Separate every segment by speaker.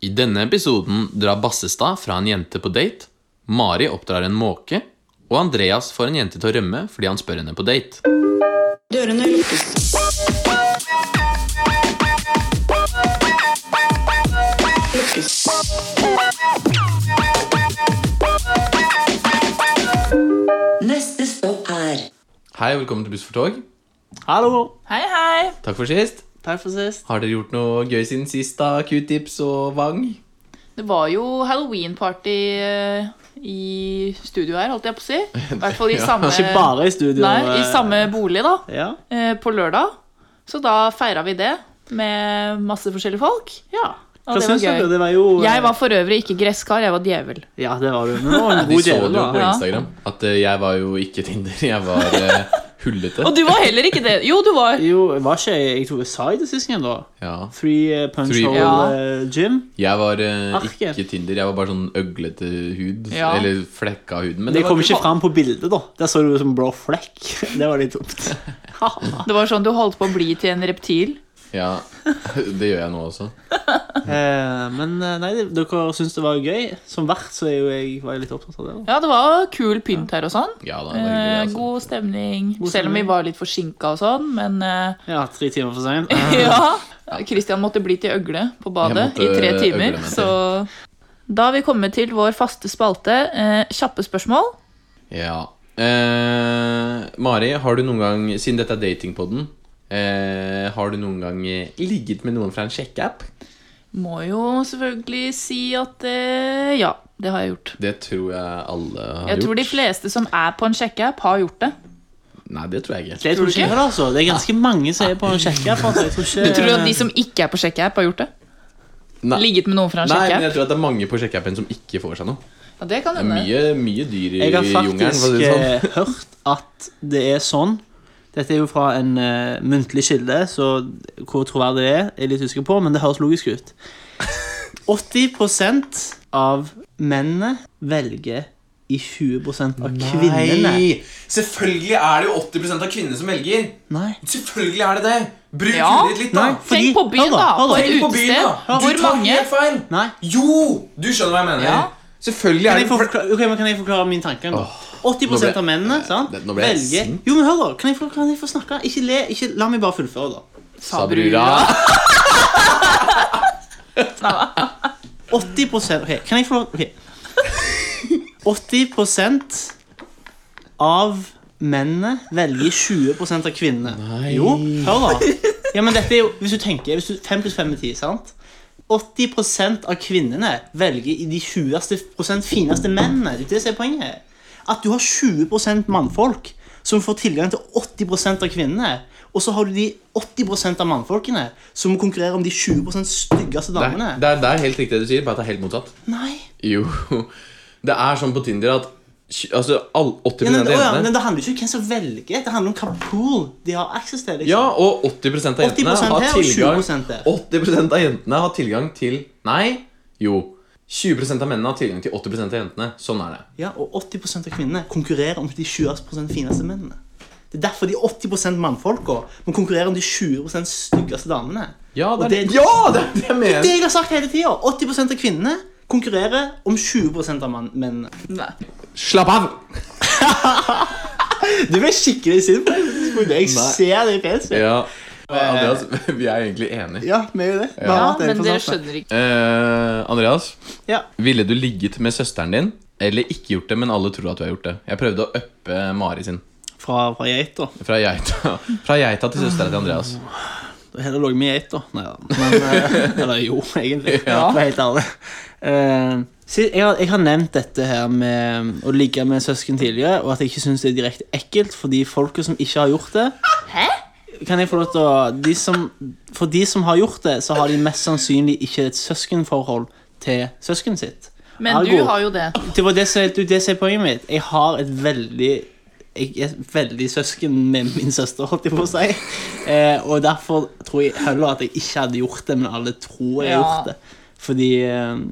Speaker 1: I denne episoden drar Bassestad fra en jente på date, Mari oppdrar en måke, og Andreas får en jente til å rømme fordi han spør henne på date.
Speaker 2: Dørene lukkes. Lukkes. Neste stopp er
Speaker 1: Hei og velkommen til Buss for tog.
Speaker 3: Hallo!
Speaker 4: Hei, hei!
Speaker 1: Takk for sist.
Speaker 3: Takk for sist.
Speaker 1: Har dere gjort noe gøy siden sist, da? Q-tips og Vang?
Speaker 4: Det var jo halloween-party eh, i studio her, holdt jeg på å si. I hvert fall i
Speaker 1: Ja.
Speaker 4: samme,
Speaker 3: Ikke bare i studio.
Speaker 4: nei, i
Speaker 3: eh,
Speaker 4: samme bolig, da.
Speaker 3: Ja.
Speaker 4: eh, På lørdag. Så da feira vi det med masse forskjellige folk.
Speaker 3: ja.
Speaker 4: Ja,
Speaker 3: Hva
Speaker 4: det var
Speaker 3: syns du?
Speaker 4: gøy.
Speaker 3: Det var jo eh,
Speaker 4: Jeg var for øvrig ikke gresskar, jeg var djevel.
Speaker 3: Ja, det var du. Men det var en
Speaker 1: De
Speaker 3: god
Speaker 1: så
Speaker 3: djevel,
Speaker 1: det jo på
Speaker 3: da.
Speaker 4: Ja.
Speaker 1: Instagram. At eh, jeg var jo ikke Tinder, jeg var eh, hullete.
Speaker 4: Og du var heller ikke det. Jo, du var.
Speaker 3: Jo, var ikke jeg Jeg tror jeg sa det sist gang, da.
Speaker 1: Ja.
Speaker 3: Three eh, Punch
Speaker 1: Three-
Speaker 3: Hole
Speaker 4: Ja.
Speaker 3: eh, Gym.
Speaker 1: Jeg var eh,
Speaker 3: Arken.
Speaker 1: ikke Tinder, jeg var bare sånn øglete hud.
Speaker 4: Ah, Ja.
Speaker 1: Eller flekka hud. Men
Speaker 3: Det
Speaker 1: var
Speaker 3: kom
Speaker 1: kult.
Speaker 3: ikke fram på bildet, da. Der så du ut som blå flekk. Det var litt dumt.
Speaker 4: Det var sånn du holdt på å bli til en reptil.
Speaker 1: Ja, Det gjør jeg nå også.
Speaker 3: Eh, men eh, nei, det- dere syns det var gøy. Som vert så er jo jeg, var jeg litt opptatt av det. da
Speaker 4: Ja, det var kul pynt her og sånn.
Speaker 1: Ja da, det var hyggelig,
Speaker 4: Eh,
Speaker 1: altså.
Speaker 4: god stemning.
Speaker 3: God
Speaker 4: Selv om vi
Speaker 3: stemning.
Speaker 4: var litt forsinka og sånn, men eh,
Speaker 3: Ja, tre timer for seint.
Speaker 4: Ja. Christian måtte bli til øgle på badet
Speaker 1: Jeg måtte
Speaker 4: i tre timer.
Speaker 1: øgle meg til.
Speaker 4: Så da har vi kommet til vår faste spalte, eh, kjappe spørsmål.
Speaker 1: Ja. Eh, Mari, har du noen gang, siden dette er datingpodden, eh, har du noen gang eh, ligget med noen fra en sjekkeapp?
Speaker 4: Må jo selvfølgelig si at eh, ja, det har jeg gjort.
Speaker 1: Det tror jeg alle har
Speaker 4: Jeg
Speaker 1: gjort.
Speaker 4: tror de fleste som er på en sjekkeapp, har gjort det.
Speaker 1: Nei, det tror jeg ikke.
Speaker 3: Det tror ikke jeg, heller, altså. Det er ganske mange som er på en sjekkeapp. Altså. Jeg tror ikke
Speaker 4: Du tror at de som ikke er på sjekkeapp, har gjort det?
Speaker 1: Nei.
Speaker 4: Ligget med noen fra en
Speaker 1: Nei, men jeg
Speaker 4: sjekkeapp?
Speaker 1: tror at det er mange på sjekkeappen som ikke får seg noe.
Speaker 4: Ja, det kan
Speaker 1: Det er
Speaker 4: hende.
Speaker 1: mye, mye dyr i
Speaker 3: Jeg har
Speaker 1: jungelen.
Speaker 3: faktisk
Speaker 1: for å si det sånn.
Speaker 3: eh, hørt at det er sånn Dette er jo fra en eh, muntlig kilde, så hvor troverdig det er, er jeg litt usikker på, men det høres logisk ut. 80 av mennene velger i 20 av kvinnene.
Speaker 1: Selvfølgelig er det jo 80 av kvinnene som velger.
Speaker 3: Nei.
Speaker 1: Selvfølgelig er det det. Bruk
Speaker 4: Ja. hodet ditt
Speaker 1: litt,
Speaker 3: da. Nei. fordi-
Speaker 4: Tenk på byen,
Speaker 3: Hør
Speaker 4: da.
Speaker 3: da, hør
Speaker 4: På
Speaker 3: da.
Speaker 4: et utested. Hvor mange
Speaker 1: feil.
Speaker 3: Nei.
Speaker 1: Jo! Du skjønner hva jeg mener.
Speaker 4: Ja.
Speaker 1: Selvfølgelig
Speaker 3: Kan
Speaker 1: er
Speaker 3: jeg,
Speaker 1: det
Speaker 3: få forklare, ok, men kan jeg forklare min tanke? nå?
Speaker 1: Åh,
Speaker 3: 80
Speaker 1: nå ble-
Speaker 3: av mennene sant?
Speaker 1: Nå ble jeg sint.
Speaker 3: Jo, men hør da, Kan jeg få, kan jeg få snakke? Ikke le. Ikke, la meg bare fullføre, da.
Speaker 4: Sa brura.
Speaker 3: 80 Ok, kan jeg få ok. 80 av mennene velger 20 av kvinnene.
Speaker 1: Nei.
Speaker 3: Jo, hør da. Ja, men dette er jo, hvis du tenker, hvis du, 5 pluss 5 er 10, sant? 80 av kvinnene velger i de 20 fineste mennene. Det er det som er poenget. At du har 20 mannfolk som får tilgang til 80 av kvinnene. Og så har du de 80 av mannfolkene som konkurrerer om de 20 styggeste
Speaker 1: Det er,
Speaker 3: damene.
Speaker 1: det, er, det er helt riktig det du sier, bare at det er helt motsatt.
Speaker 3: Nei.
Speaker 1: Jo, det er sånn på Tinder at tj- altså, all- 80
Speaker 3: Ja, men,
Speaker 1: av
Speaker 3: å, ja, men
Speaker 1: jentene
Speaker 3: det handler ikke om hvem som velger, det handler om hvilken pool de har access til. Liksom.
Speaker 1: Ja, og 80 av jentene
Speaker 3: 80%
Speaker 1: har
Speaker 3: her og
Speaker 1: tilgang
Speaker 3: 20% der.
Speaker 1: 80 av jentene har tilgang til Nei, jo. 20 av mennene har tilgang til 80 av jentene. Sånn er det.
Speaker 3: Ja, og 80 av kvinnene konkurrerer om de 20 fineste mennene. Det er derfor de 80 mannfolka må konkurrere om de 20 styggeste damene.
Speaker 1: Ja, det
Speaker 3: Og
Speaker 1: er det, ja, det, er det jeg
Speaker 3: det
Speaker 1: mener!
Speaker 3: jeg har sagt hele tida. 80 av kvinnene konkurrerer om 20 av mann- mennene.
Speaker 1: Slapp av!
Speaker 3: Du ble skikkelig sint på meg.
Speaker 1: Nei.
Speaker 3: Jeg ser det i fjeset.
Speaker 1: Ja. Andreas, vi er egentlig enige.
Speaker 3: Ja, vi er jo det. Vi har
Speaker 4: Ja,
Speaker 3: vært enige
Speaker 4: men
Speaker 3: på
Speaker 4: dere
Speaker 3: sånt, da.
Speaker 4: skjønner ikke.
Speaker 1: Eh, Andreas,
Speaker 3: Ja.
Speaker 1: ville du ligget med søsteren din? Eller ikke gjort det, men alle tror at du har gjort det. Jeg prøvde å uppe Mari sin.
Speaker 3: Fra, fra geita.
Speaker 1: Fra geita, fra geita til søstera til Andreas.
Speaker 3: Heller lå jeg med geit, da. Nei, da. Men, eh, eller jo, egentlig.
Speaker 4: Ja.
Speaker 3: For å være helt ærlig. Eh, si- jeg, har, jeg har nevnt dette her med å ligge med søsken tidligere, og at jeg ikke syns det er direkte ekkelt for de folka som ikke har gjort det.
Speaker 4: Hæ?
Speaker 3: Kan jeg få lov til å de som, For de som har gjort det, så har de mest sannsynlig ikke et søskenforhold til søskenet sitt.
Speaker 4: Men du
Speaker 3: Ergo-
Speaker 4: har jo det.
Speaker 3: det var det som, det, er det som er poenget mitt. Jeg har et veldig jeg er veldig søsken med min søster, holdt jeg på å si. Eh, og derfor tror jeg heller at jeg ikke hadde gjort det, men alle tror jeg har
Speaker 4: Ja.
Speaker 3: gjort det. Fordi eh,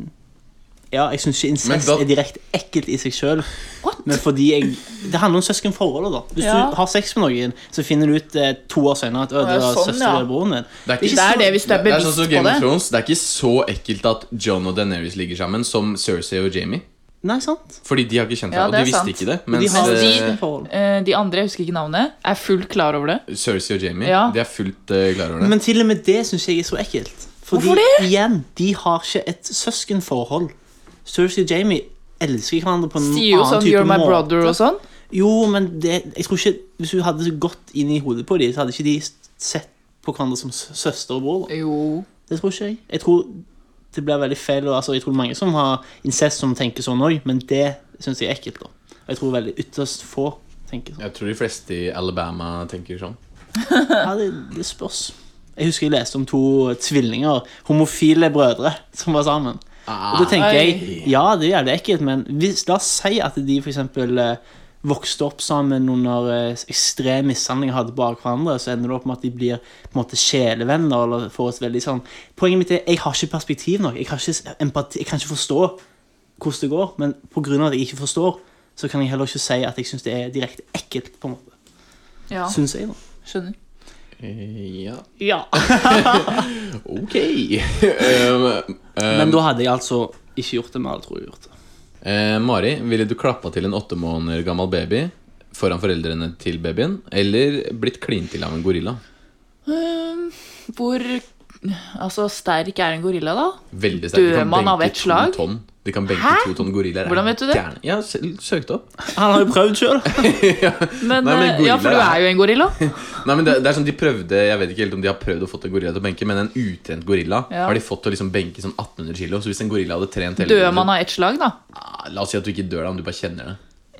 Speaker 3: Ja, jeg syns ikke
Speaker 1: Men
Speaker 3: incest
Speaker 1: da-
Speaker 3: er direkte ekkelt i seg sjøl.
Speaker 4: What?
Speaker 3: Men fordi jeg Det handler om søskenforholdet, da. Hvis
Speaker 4: Ja.
Speaker 3: du har sex med noen, så finner du ut eh, to år senere at «Å, det
Speaker 4: Å, ja,
Speaker 3: var
Speaker 4: sånn,
Speaker 3: søster
Speaker 4: ja.
Speaker 3: eller broren din.
Speaker 1: Det er
Speaker 4: Ikke
Speaker 1: så-
Speaker 4: det er det hvis du er
Speaker 1: det
Speaker 4: bevisst
Speaker 1: sånn som
Speaker 4: på
Speaker 1: Game
Speaker 4: det.
Speaker 1: of Thrones, det er ikke så ekkelt at John og Daenerys ligger sammen som Cersei og Jamie.
Speaker 3: Nei, sant?
Speaker 1: Fordi de har ikke kjent
Speaker 4: Ja,
Speaker 1: seg, og
Speaker 4: det
Speaker 1: de
Speaker 4: er
Speaker 1: visste
Speaker 4: sant.
Speaker 1: ikke det.
Speaker 3: Men de
Speaker 1: Mens
Speaker 3: har
Speaker 4: Men de-
Speaker 1: eh,
Speaker 3: søskenforhold.
Speaker 4: Eh, De andre, jeg husker ikke navnet, er fullt klar over det.
Speaker 1: Cersei og Jamie
Speaker 4: Ja.
Speaker 1: De er fullt eh, klar over det.
Speaker 3: Men til og med det syns jeg er så ekkelt. Fordi
Speaker 4: Hvorfor det?
Speaker 3: igjen, de har ikke et søskenforhold. Cersei og Jamie elsker hverandre på en
Speaker 4: Sier jo
Speaker 3: annen
Speaker 4: sånn
Speaker 3: type
Speaker 4: 'You're my
Speaker 3: måte.
Speaker 4: brother' og sånn.
Speaker 3: Jo, men det, jeg tror ikke Hvis du hadde gått inn i hodet på dem, så hadde ikke de sett på hverandre som s- søster og bror. da.
Speaker 4: Jo.
Speaker 3: Det tror ikke jeg. Jeg tror det blir veldig feil. Og altså, jeg tror mange som har incest, som tenker sånn òg, men det syns jeg er ekkelt. da. Og jeg tror veldig ytterst få tenker sånn.
Speaker 1: Jeg tror de fleste i Alabama tenker sånn.
Speaker 3: Ja, det, det spørs. Jeg husker jeg leste om to tvillinger, homofile brødre, som var sammen. Og da tenker jeg
Speaker 1: Oi.
Speaker 3: ja, det er jævlig ekkelt, men hvis, la oss si at de f.eks. vokste opp sammen under eh, ekstrem mishandling og hadde bak hverandre, så ender det opp med at de blir på en måte sjelevenner. eller får et veldig sånn... Poenget mitt er jeg har ikke perspektiv nok. Jeg, har ikke empati, jeg kan ikke forstå hvordan det går, men pga. at jeg ikke forstår, så kan jeg heller ikke si at jeg syns det er direkte ekkelt. på en måte.
Speaker 4: Ja,
Speaker 3: Synes jeg da.
Speaker 4: skjønner.
Speaker 1: Eh, Ja,
Speaker 3: Ja.
Speaker 1: ok. um,
Speaker 3: Men da hadde jeg altså ikke gjort det med alle, tror jeg. gjort det.
Speaker 1: eh, Mari, ville du klappa til en åtte måneder gammel baby foran foreldrene til babyen? Eller blitt klint til av en gorilla?
Speaker 4: Ehm, Hvor Altså, sterk er en gorilla, da?
Speaker 1: Veldig sterkt. De
Speaker 4: Dør
Speaker 1: kan
Speaker 4: man av
Speaker 1: benke
Speaker 4: et slag?
Speaker 1: To tonn. De kan benke
Speaker 4: Hæ?
Speaker 1: to tonn gorillaer.
Speaker 4: Hvordan vet du det?
Speaker 1: Gærne. Jeg har selv søkt opp.
Speaker 3: Han har jo prøvd sjøl.
Speaker 4: Men,
Speaker 1: Nei, men
Speaker 4: eh, ja, for du
Speaker 1: gorilla er-
Speaker 4: er jo en gorilla.
Speaker 1: Nei, men det, det er sånn de prøvde Jeg vet ikke helt om de har prøvd å få en gorilla til å benke, men en utrent gorilla
Speaker 4: Ja.
Speaker 1: har de fått til å liksom benke sånn 1800 kilo. Så hvis en gorilla hadde trent hele
Speaker 4: Dør man av ett slag, da?
Speaker 1: Ah, La oss si at du ikke dør da, men du bare kjenner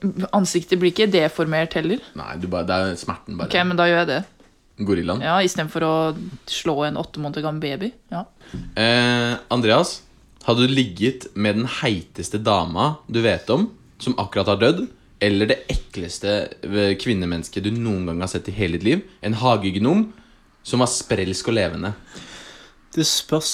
Speaker 1: det.
Speaker 4: Ansiktet blir ikke deformert heller.
Speaker 1: Nei, du bare, det er smerten bare.
Speaker 4: Ok, men da gjør jeg det.
Speaker 1: Gorillaen.
Speaker 4: Ja, Istedenfor å slå en åtte måneder gammel baby. Ja.
Speaker 1: Eh, Andreas, hadde du ligget med den heiteste dama du vet om, som akkurat har dødd, eller det ekleste eh, kvinnemennesket du noen gang har sett i hele ditt liv? En hagegnom som var sprelsk og levende.
Speaker 3: Det spørs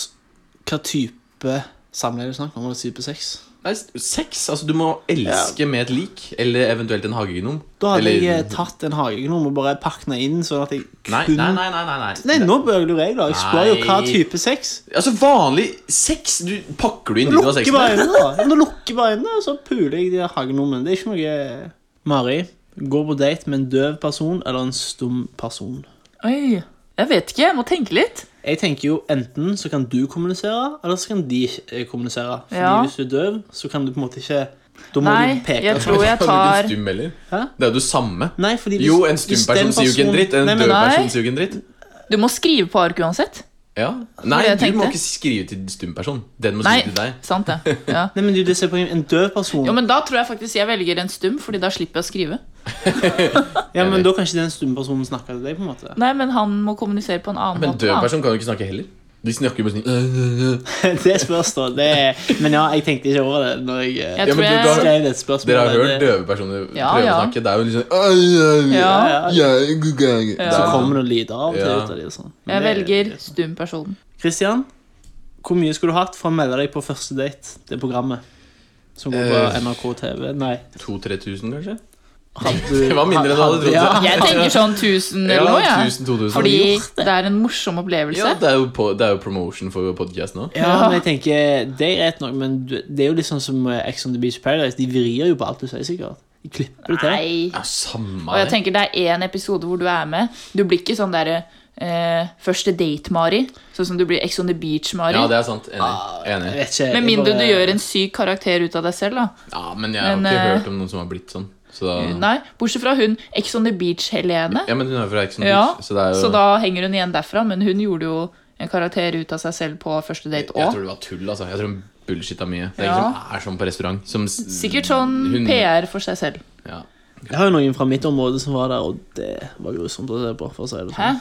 Speaker 3: hva type samleie du snakker om. Eller type sex.
Speaker 1: Nei, s- sex? Altså, du må elske med et lik, eller eventuelt en hagegnom.
Speaker 3: Da hadde
Speaker 1: eller,
Speaker 3: jeg eh, tatt en hagegnom og bare pakket den inn. sånn at jeg
Speaker 1: Nei,
Speaker 3: kun...
Speaker 1: nei, nei, nei, nei, nei.
Speaker 3: Nei, nå bør jeg lure jeg, da. Jeg spør jo hva
Speaker 1: Nei.
Speaker 3: type sex.
Speaker 1: Altså, vanlig sex? Du pakker du inn de du har sex
Speaker 3: Lukker bare
Speaker 1: med?
Speaker 3: øynene, da. Nå lukker bare øynene, og så puler jeg de der hagenomene. Det er ikke noe Mari, gå på date med en døv person eller en stum person.
Speaker 4: Oi, Jeg vet ikke, jeg må tenke litt.
Speaker 3: Jeg tenker jo Enten så kan du kommunisere, eller så kan de ikke eh, kommunisere. Fordi
Speaker 4: Ja.
Speaker 3: hvis du er døv, så kan du på en måte ikke Da må
Speaker 4: Nei,
Speaker 3: du peke.
Speaker 4: jeg tror jeg
Speaker 1: Kan du ikke
Speaker 4: tar
Speaker 1: en stum heller?
Speaker 3: Hæ?
Speaker 1: Det er jo det samme.
Speaker 3: Nei, fordi hvis,
Speaker 1: Jo, en stum
Speaker 3: hvis den
Speaker 1: person sier jo ikke en
Speaker 3: personen-
Speaker 1: dritt. En
Speaker 3: Nei, men
Speaker 1: død
Speaker 4: nei.
Speaker 1: person sier jo ikke en dritt.
Speaker 4: Du må skrive på ark uansett.
Speaker 1: Ja. Nei,
Speaker 4: det jeg
Speaker 1: du må
Speaker 4: tenkte.
Speaker 1: ikke skrive til stum person. Den må
Speaker 4: Nei,
Speaker 1: skrive til deg.
Speaker 4: sant det. Ja.
Speaker 3: Nei, men du, det ser på en døv person.
Speaker 4: Jo, men Da tror jeg faktisk jeg velger en stum, Fordi da slipper jeg å skrive.
Speaker 3: ja, men Da kan ikke den stumme personen snakke til deg. på en måte
Speaker 4: Nei, men han må kommunisere på en annen
Speaker 1: Men
Speaker 4: måte.
Speaker 1: død
Speaker 4: da.
Speaker 1: person kan jo ikke snakke heller. De snakker jo bare sånn øh, øh, øh.
Speaker 3: Det spørs, da. Det er, men ja, jeg tenkte ikke over det når jeg, eh,
Speaker 4: Jeg
Speaker 1: Ja, men
Speaker 4: tror
Speaker 1: du,
Speaker 4: jeg-
Speaker 1: da-
Speaker 3: skrev det spørsmålet.
Speaker 1: Dere har hørt
Speaker 3: det,
Speaker 1: døve personer
Speaker 4: Ja,
Speaker 1: prøve å
Speaker 4: ja.
Speaker 1: snakke. Det er jo liksom øh, øh, øh,
Speaker 4: Ja.
Speaker 3: ja, ja.
Speaker 1: ja, god gang.
Speaker 3: Så
Speaker 1: Det er-
Speaker 3: kommer det noen lyder av og til
Speaker 1: Ja.
Speaker 3: ut av de og sånn. Men
Speaker 4: Jeg
Speaker 3: det-
Speaker 4: velger stum person.
Speaker 3: Christian, hvor mye skulle du hatt for å melde deg på første date? Det programmet som går på
Speaker 1: Eh.
Speaker 3: NRK TV. Nei.
Speaker 1: 2000-3000, kanskje?
Speaker 3: Hadde du,
Speaker 1: Det var mindre enn jeg hadde trodd.
Speaker 3: Ah, Ja.
Speaker 4: Jeg tenker sånn 1000 eller noe,
Speaker 1: Ja,
Speaker 4: jeg.
Speaker 1: 1000-2000.
Speaker 4: Fordi det er en morsom opplevelse.
Speaker 1: ja, det, er jo på, det er jo promotion for podcasten nå.
Speaker 3: Ja, men jeg tenker, Det er rett nok, men du- det er jo litt sånn som eh, Ex on the Beach Paradise. De vrir jo på alt du sier, sikkert. De klipper det til.
Speaker 4: Nei.
Speaker 1: Ja, samme
Speaker 4: Og jeg
Speaker 1: det.
Speaker 4: tenker det er én episode hvor du er med. Du blir ikke sånn derre eh, første date-Mari. Sånn som du blir Ex on the Beach-Mari.
Speaker 1: Ja, det er sant. Enig.
Speaker 4: Ah,
Speaker 1: Enig.
Speaker 3: Jeg vet ikke,
Speaker 4: Med
Speaker 3: jeg
Speaker 4: mindre
Speaker 3: bare-
Speaker 4: du gjør en syk karakter ut av deg selv, da.
Speaker 1: Ja, men jeg har
Speaker 4: Men,
Speaker 1: ikke
Speaker 4: eh,
Speaker 1: hørt om noen som har blitt sånn. Så da,
Speaker 4: Nei, Bortsett fra hun Ex on the Beach-Helene.
Speaker 1: ja, men hun er fra Exxon
Speaker 4: Ja,
Speaker 1: Beach, så det er jo
Speaker 4: Så da henger hun igjen derfra, men hun gjorde jo en karakter ut av seg selv på første
Speaker 1: Jeg
Speaker 4: date òg.
Speaker 1: tror det var tull, altså. Jeg tror hun bullshitta mye. Det er
Speaker 4: Ja.
Speaker 1: ingen som er sånn på restaurant. Som s-
Speaker 4: Sikkert sånn
Speaker 1: hun-
Speaker 4: PR for seg selv.
Speaker 1: Ja.
Speaker 3: Jeg har jo noen fra mitt område som var der, og det var grusomt å se på. for å si det
Speaker 4: Hæ?
Speaker 3: sånn.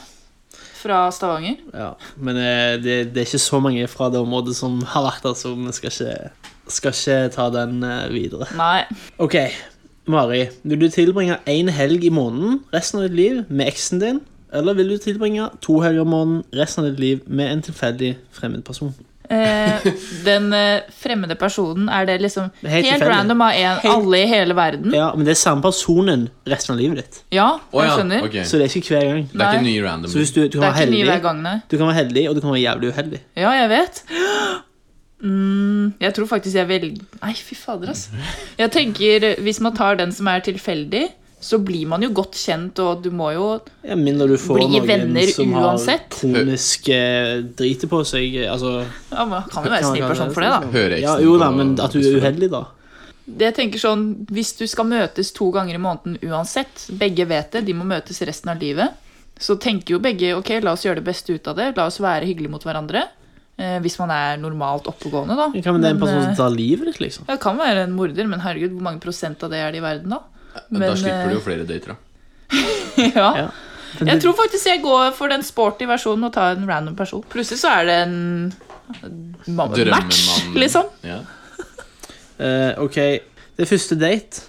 Speaker 4: Fra Stavanger?
Speaker 3: Ja. Men eh, det, det er ikke så mange fra det området som har vært der, så vi skal ikke, skal ikke ta den eh, videre.
Speaker 4: Nei.
Speaker 3: OK, Mari. Vil du tilbringe én helg i måneden resten av ditt liv med eksen din? Eller vil du tilbringe to helger i måneden resten av ditt liv med en tilfeldig fremmed person?
Speaker 4: Eh, den eh, fremmede personen, er det liksom
Speaker 3: er helt
Speaker 4: helt,
Speaker 3: tilfeldig.
Speaker 4: random av en,
Speaker 3: Helt-
Speaker 4: alle i hele verden?
Speaker 3: Ja, Men det er samme personen resten av livet ditt.
Speaker 4: Ja,
Speaker 1: Å
Speaker 4: jeg
Speaker 1: ja,
Speaker 4: skjønner.
Speaker 1: ok.
Speaker 3: Så det er ikke hver gang.
Speaker 1: Det er ikke en
Speaker 4: Nei.
Speaker 1: ny random.
Speaker 3: Så hvis du, du,
Speaker 4: Det
Speaker 3: kan
Speaker 4: er
Speaker 3: være
Speaker 4: ikke ny hver
Speaker 3: heldig,
Speaker 4: gang, nei.
Speaker 3: du kan være heldig, og du kan være jævlig uheldig.
Speaker 4: Ja, jeg vet. Mm, jeg tror faktisk jeg velger Nei, fy fader, altså. Jeg tenker, Hvis man tar den som er tilfeldig, så blir man jo godt kjent, og du må jo
Speaker 3: Ja, mindre du får
Speaker 4: Bli
Speaker 3: noen
Speaker 4: venner
Speaker 3: som
Speaker 4: uansett.
Speaker 3: har kronisk eh, drite på seg. eh, Altså,
Speaker 4: ja, Man kan jo være snill person for det, da.
Speaker 1: Hører
Speaker 3: Ja,
Speaker 1: eksen
Speaker 3: jo
Speaker 1: på-
Speaker 3: da, men at du er uheldig, da.
Speaker 4: Det jeg tenker sånn, Hvis du skal møtes to ganger i måneden uansett, begge vet det, de må møtes resten av livet, så tenker jo begge ok, la oss gjøre det beste ut av det, la oss være hyggelige mot hverandre. Eh, hvis man er normalt oppegående, da.
Speaker 3: Hva med den personen som
Speaker 4: eh,
Speaker 3: tar livet ditt, liksom?
Speaker 4: det kan være en morder, men herregud, hvor mange prosent av det er det i verden, da?
Speaker 1: Da
Speaker 4: Men,
Speaker 1: slipper du
Speaker 4: eh,
Speaker 1: jo flere dater, da.
Speaker 4: ja.
Speaker 3: Ja.
Speaker 4: Jeg tror faktisk jeg går for den sporty versjonen og tar en random person. Plutselig så er det en ma- match,
Speaker 1: Drømmemannen.
Speaker 4: liksom.
Speaker 1: Ja.
Speaker 3: Eh, ok, det er første date.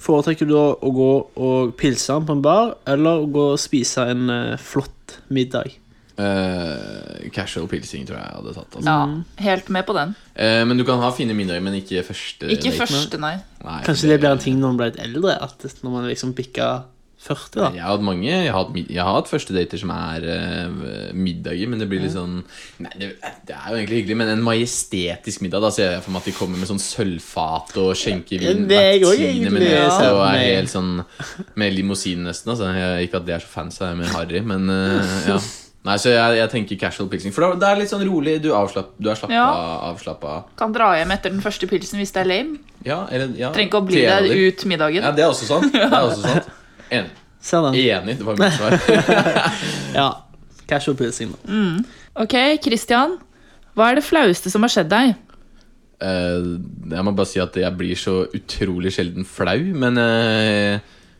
Speaker 3: Foretrekker du da å gå og pilse på en bar, eller å gå og spise en eh, flott middag?
Speaker 1: Eh, casual pilsing tror jeg jeg hadde tatt. Altså.
Speaker 4: Ja, helt med på den.
Speaker 1: Eh, men du kan ha fine middager, men ikke første
Speaker 4: Ikke
Speaker 1: date.
Speaker 4: første, nei.
Speaker 1: Nei,
Speaker 3: Kanskje det blir en ting når man blir litt eldre, at når man liksom bikker 40, da.
Speaker 1: Jeg har hatt mange. Jeg har hatt, mid- jeg har hatt første dater som er eh, middager, men det blir litt sånn Nei, det, det er jo egentlig hyggelig, men en majestetisk middag. Da ser jeg for meg at de kommer med sånn sølvfat og skjenker vin
Speaker 3: Det er jeg
Speaker 1: hvert
Speaker 3: også
Speaker 1: tiende
Speaker 3: egentlig,
Speaker 1: minutt,
Speaker 3: ja.
Speaker 1: Og er
Speaker 3: Nei.
Speaker 1: helt sånn med limousin nesten. Altså. Jeg, ikke at det er så fancy det er med Harry, men eh, ja. Nei, så jeg, jeg tenker casual pilsing. For da- det er litt sånn rolig. Du, avslapp, du er slappa
Speaker 4: Ja.
Speaker 1: avslappa.
Speaker 4: Kan dra hjem etter den første pilsen hvis det er lame.
Speaker 1: Ja, eller ja,
Speaker 4: Trenger ikke å bli
Speaker 1: trener.
Speaker 4: deg ut middagen.
Speaker 1: Ja, det er også sant. Det er også sant. En,
Speaker 3: Ser den?
Speaker 1: enig, det var mitt svar.
Speaker 3: Ja. Casual pilsing, da.
Speaker 4: Ok, Christian. Hva er det flaueste som har skjedd deg?
Speaker 1: Eh, jeg må bare si at jeg blir så utrolig sjelden flau, men eh,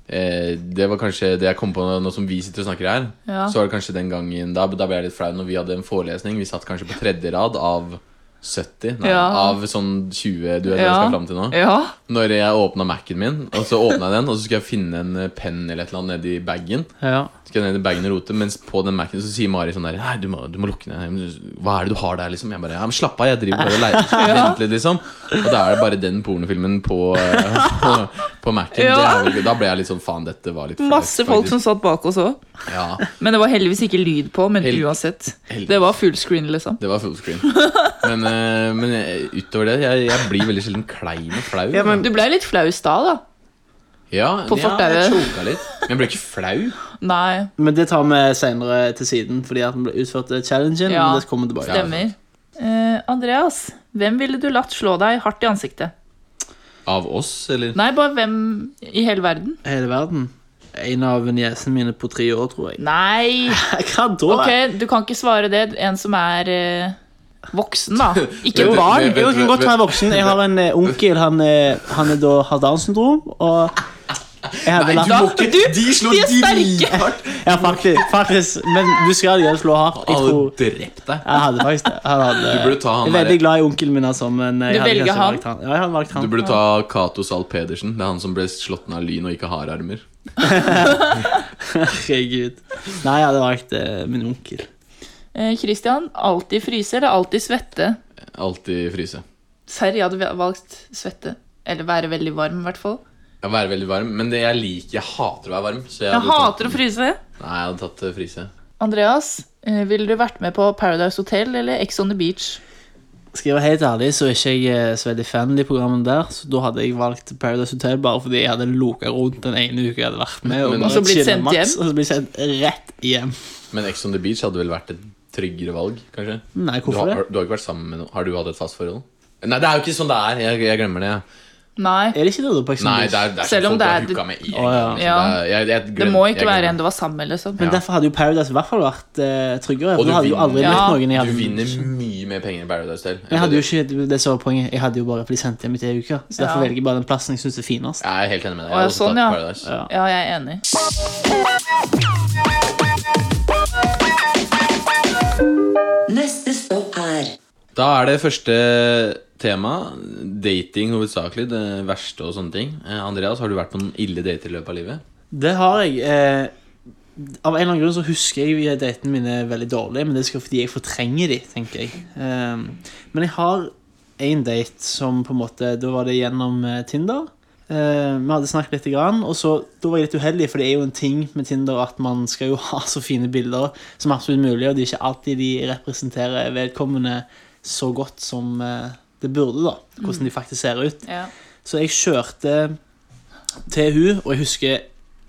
Speaker 1: eh, det var kanskje det jeg kom på nå, nå som vi sitter og snakker her.
Speaker 4: Ja.
Speaker 1: Så var det kanskje den gangen da, da ble jeg litt flau når vi hadde en forelesning. Vi satt kanskje på tredje rad av 70, nei,
Speaker 4: Ja.
Speaker 1: av sånn 20 du vet hva jeg
Speaker 4: Ja.
Speaker 1: skal fram til nå.
Speaker 4: Ja,
Speaker 1: Når jeg åpna Mac-en min, og så åpna jeg den, og så skulle jeg finne en eh, penn eller et eller annet nedi bagen.
Speaker 3: Ja.
Speaker 1: Skal ned i bagen og rote, mens på den Mac-en så sier Mari sånn der Nei, du må, du må lukke ned. Men Hva er det du har der, liksom? Jeg bare Ja, men slapp av, jeg driver bare og leter vent litt, liksom. Og da er det bare den pornofilmen på, eh, på, på Mac-en. Det
Speaker 4: Ja.
Speaker 1: er jo- Da ble jeg litt sånn faen, dette var litt flaut,
Speaker 4: Masse folk som
Speaker 1: faktisk.
Speaker 4: satt bak oss òg.
Speaker 1: Ja,
Speaker 4: Men det var heldigvis ikke lyd på. Men
Speaker 1: Hel-
Speaker 4: uansett.
Speaker 1: heldigvis.
Speaker 4: Det var full screen, liksom.
Speaker 1: det var full screen. Men, eh, men eh, utover det, jeg, jeg blir veldig sjelden klein og flau.
Speaker 3: Ja, men-
Speaker 4: Du ble litt flau i stad, da.
Speaker 1: ja, ja,
Speaker 4: på
Speaker 1: jeg
Speaker 4: fortauet.
Speaker 1: choka litt. Men jeg ble ikke flau.
Speaker 4: Nei,
Speaker 3: Men det tar vi senere til siden, fordi at den ble utført eh, challengen.
Speaker 4: Ja.
Speaker 3: Men det kommer tilbake.
Speaker 4: stemmer. Eh, Andreas, hvem ville du latt slå deg hardt i ansiktet?
Speaker 1: Av oss, eller?
Speaker 4: Nei, bare hvem i hele verden?
Speaker 3: Hele verden. En av niesene mine på tre år, tror jeg.
Speaker 4: Nei!
Speaker 3: Hva da?
Speaker 4: Ok, du kan ikke svare det. En som er eh, voksen, da. Ikke
Speaker 1: Vent,
Speaker 4: barn.
Speaker 1: vent,
Speaker 3: Jo, jeg kan godt være voksen. Jeg har en eh, onkel. Han, eh, han er da, har Downs syndrom. Og jeg hadde
Speaker 1: Nei,
Speaker 3: latt
Speaker 1: du må ikke
Speaker 4: Du,
Speaker 1: De slår
Speaker 4: de er sterke.
Speaker 1: drithardt!
Speaker 3: Ja, faktisk, faktisk. Men du skal gjøre slå hardt. Jeg
Speaker 1: Alle
Speaker 3: tror
Speaker 1: drept deg.
Speaker 3: jeg hadde faktisk det. Jeg, hadde,
Speaker 1: Du burde ta han
Speaker 3: jeg er
Speaker 1: der-
Speaker 3: veldig glad i onkelen min, altså. Men eh,
Speaker 4: Du
Speaker 3: jeg hadde
Speaker 4: velger
Speaker 3: kanskje
Speaker 4: han?
Speaker 3: valgt han. Ja, jeg hadde valgt
Speaker 1: Du
Speaker 3: han.
Speaker 1: burde ta Cato Zahl Pedersen. Det er han som ble slått ned av lyn og ikke har armer.
Speaker 3: Herregud. Nei, jeg hadde valgt eh, min onkel.
Speaker 4: Eh, Christian, alltid fryse eller alltid svette?
Speaker 1: Alltid fryse.
Speaker 4: Serr, jeg hadde valgt svette. Eller være veldig varm, i hvert fall.
Speaker 1: Jeg være veldig varm, men det jeg liker Jeg hater å være varm. Så jeg
Speaker 4: Jeg
Speaker 1: hadde
Speaker 4: hater å fryse.
Speaker 1: tatt, Nei, jeg hadde tatt eh, fryse.
Speaker 4: Andreas, eh, ville du vært med på Paradise Hotel eller Ex on the Beach?
Speaker 3: Skal jeg være helt ærlig, så er ikke jeg eh, så veldig fan av de programmene der. Så da hadde jeg valgt Paradise Hotel bare fordi jeg hadde loka rundt den ene uka jeg hadde vært med. Og,
Speaker 1: Men-
Speaker 3: bare
Speaker 4: Og så blitt
Speaker 3: chillet
Speaker 4: sendt
Speaker 3: maks,
Speaker 4: hjem?
Speaker 3: Og så blitt sendt rett hjem.
Speaker 1: Men Ex on the Beach hadde vel vært et tryggere valg, kanskje?
Speaker 3: Nei,
Speaker 1: Du har,
Speaker 3: hvorfor det?
Speaker 1: du har ikke vært sammen med noen? Har du hatt et fast forhold? Nei, det er jo ikke sånn det er. Jeg, jeg glemmer det. jeg.
Speaker 4: Nei.
Speaker 3: Er det ikke det da, på Ex on the
Speaker 1: Nei,
Speaker 3: Beach?
Speaker 1: det er, det er
Speaker 4: Selv om
Speaker 1: sånn folk
Speaker 4: det er-
Speaker 1: blir hooka med en
Speaker 3: Å, ja.
Speaker 1: gang, liksom.
Speaker 4: Ja.
Speaker 1: Det er- jeg- jeg
Speaker 4: Det
Speaker 1: glem-
Speaker 4: må
Speaker 1: jeg
Speaker 4: ikke være
Speaker 1: glemmer.
Speaker 4: en du var sammen med. eller sånn.
Speaker 3: Men
Speaker 1: Ja.
Speaker 3: derfor hadde jo Paradise i hvert fall vært eh, tryggere.
Speaker 1: Og
Speaker 3: For
Speaker 1: du
Speaker 3: da hadde jo aldri
Speaker 4: vinner-
Speaker 3: møtt
Speaker 4: Ja.
Speaker 3: noen jeg
Speaker 1: Du
Speaker 3: hadde
Speaker 1: vinner mye mer penger i Paradise Hotel.
Speaker 3: Jeg hadde jo ikke det som var poenget. Jeg hadde jo bare blitt sendt hjem i tre uker. Så derfor
Speaker 4: Ja.
Speaker 3: velger jeg bare den plassen jeg syns er finest.
Speaker 1: Jeg er helt enig med deg. Jeg
Speaker 4: Å, ja,
Speaker 1: hadde også
Speaker 4: sånn,
Speaker 1: tatt
Speaker 4: ja.
Speaker 1: Paradise.
Speaker 3: Ja.
Speaker 4: Ja, jeg er enig.
Speaker 2: Neste stopp er
Speaker 1: Da er det første tema. Dating hovedsakelig. Det verste og sånne ting. Eh, Andreas, har du vært på noen ille dater i løpet av livet?
Speaker 3: Det har jeg. Eh, Av en eller annen grunn så husker jeg jo datene mine veldig dårlig, men det er sikkert fordi jeg fortrenger de, tenker jeg. Um, men jeg har én date som på en måte Da var det gjennom eh, Tinder. Eh, vi hadde snakket litt, grann, og så, da var jeg litt uheldig, for det er jo en ting med Tinder at man skal jo ha så fine bilder som absolutt mulig, og det er ikke alltid de representerer vedkommende så godt som eh, det burde, da. Hvordan de faktisk ser ut.
Speaker 4: Ja.
Speaker 3: Så jeg kjørte til hun, og jeg husker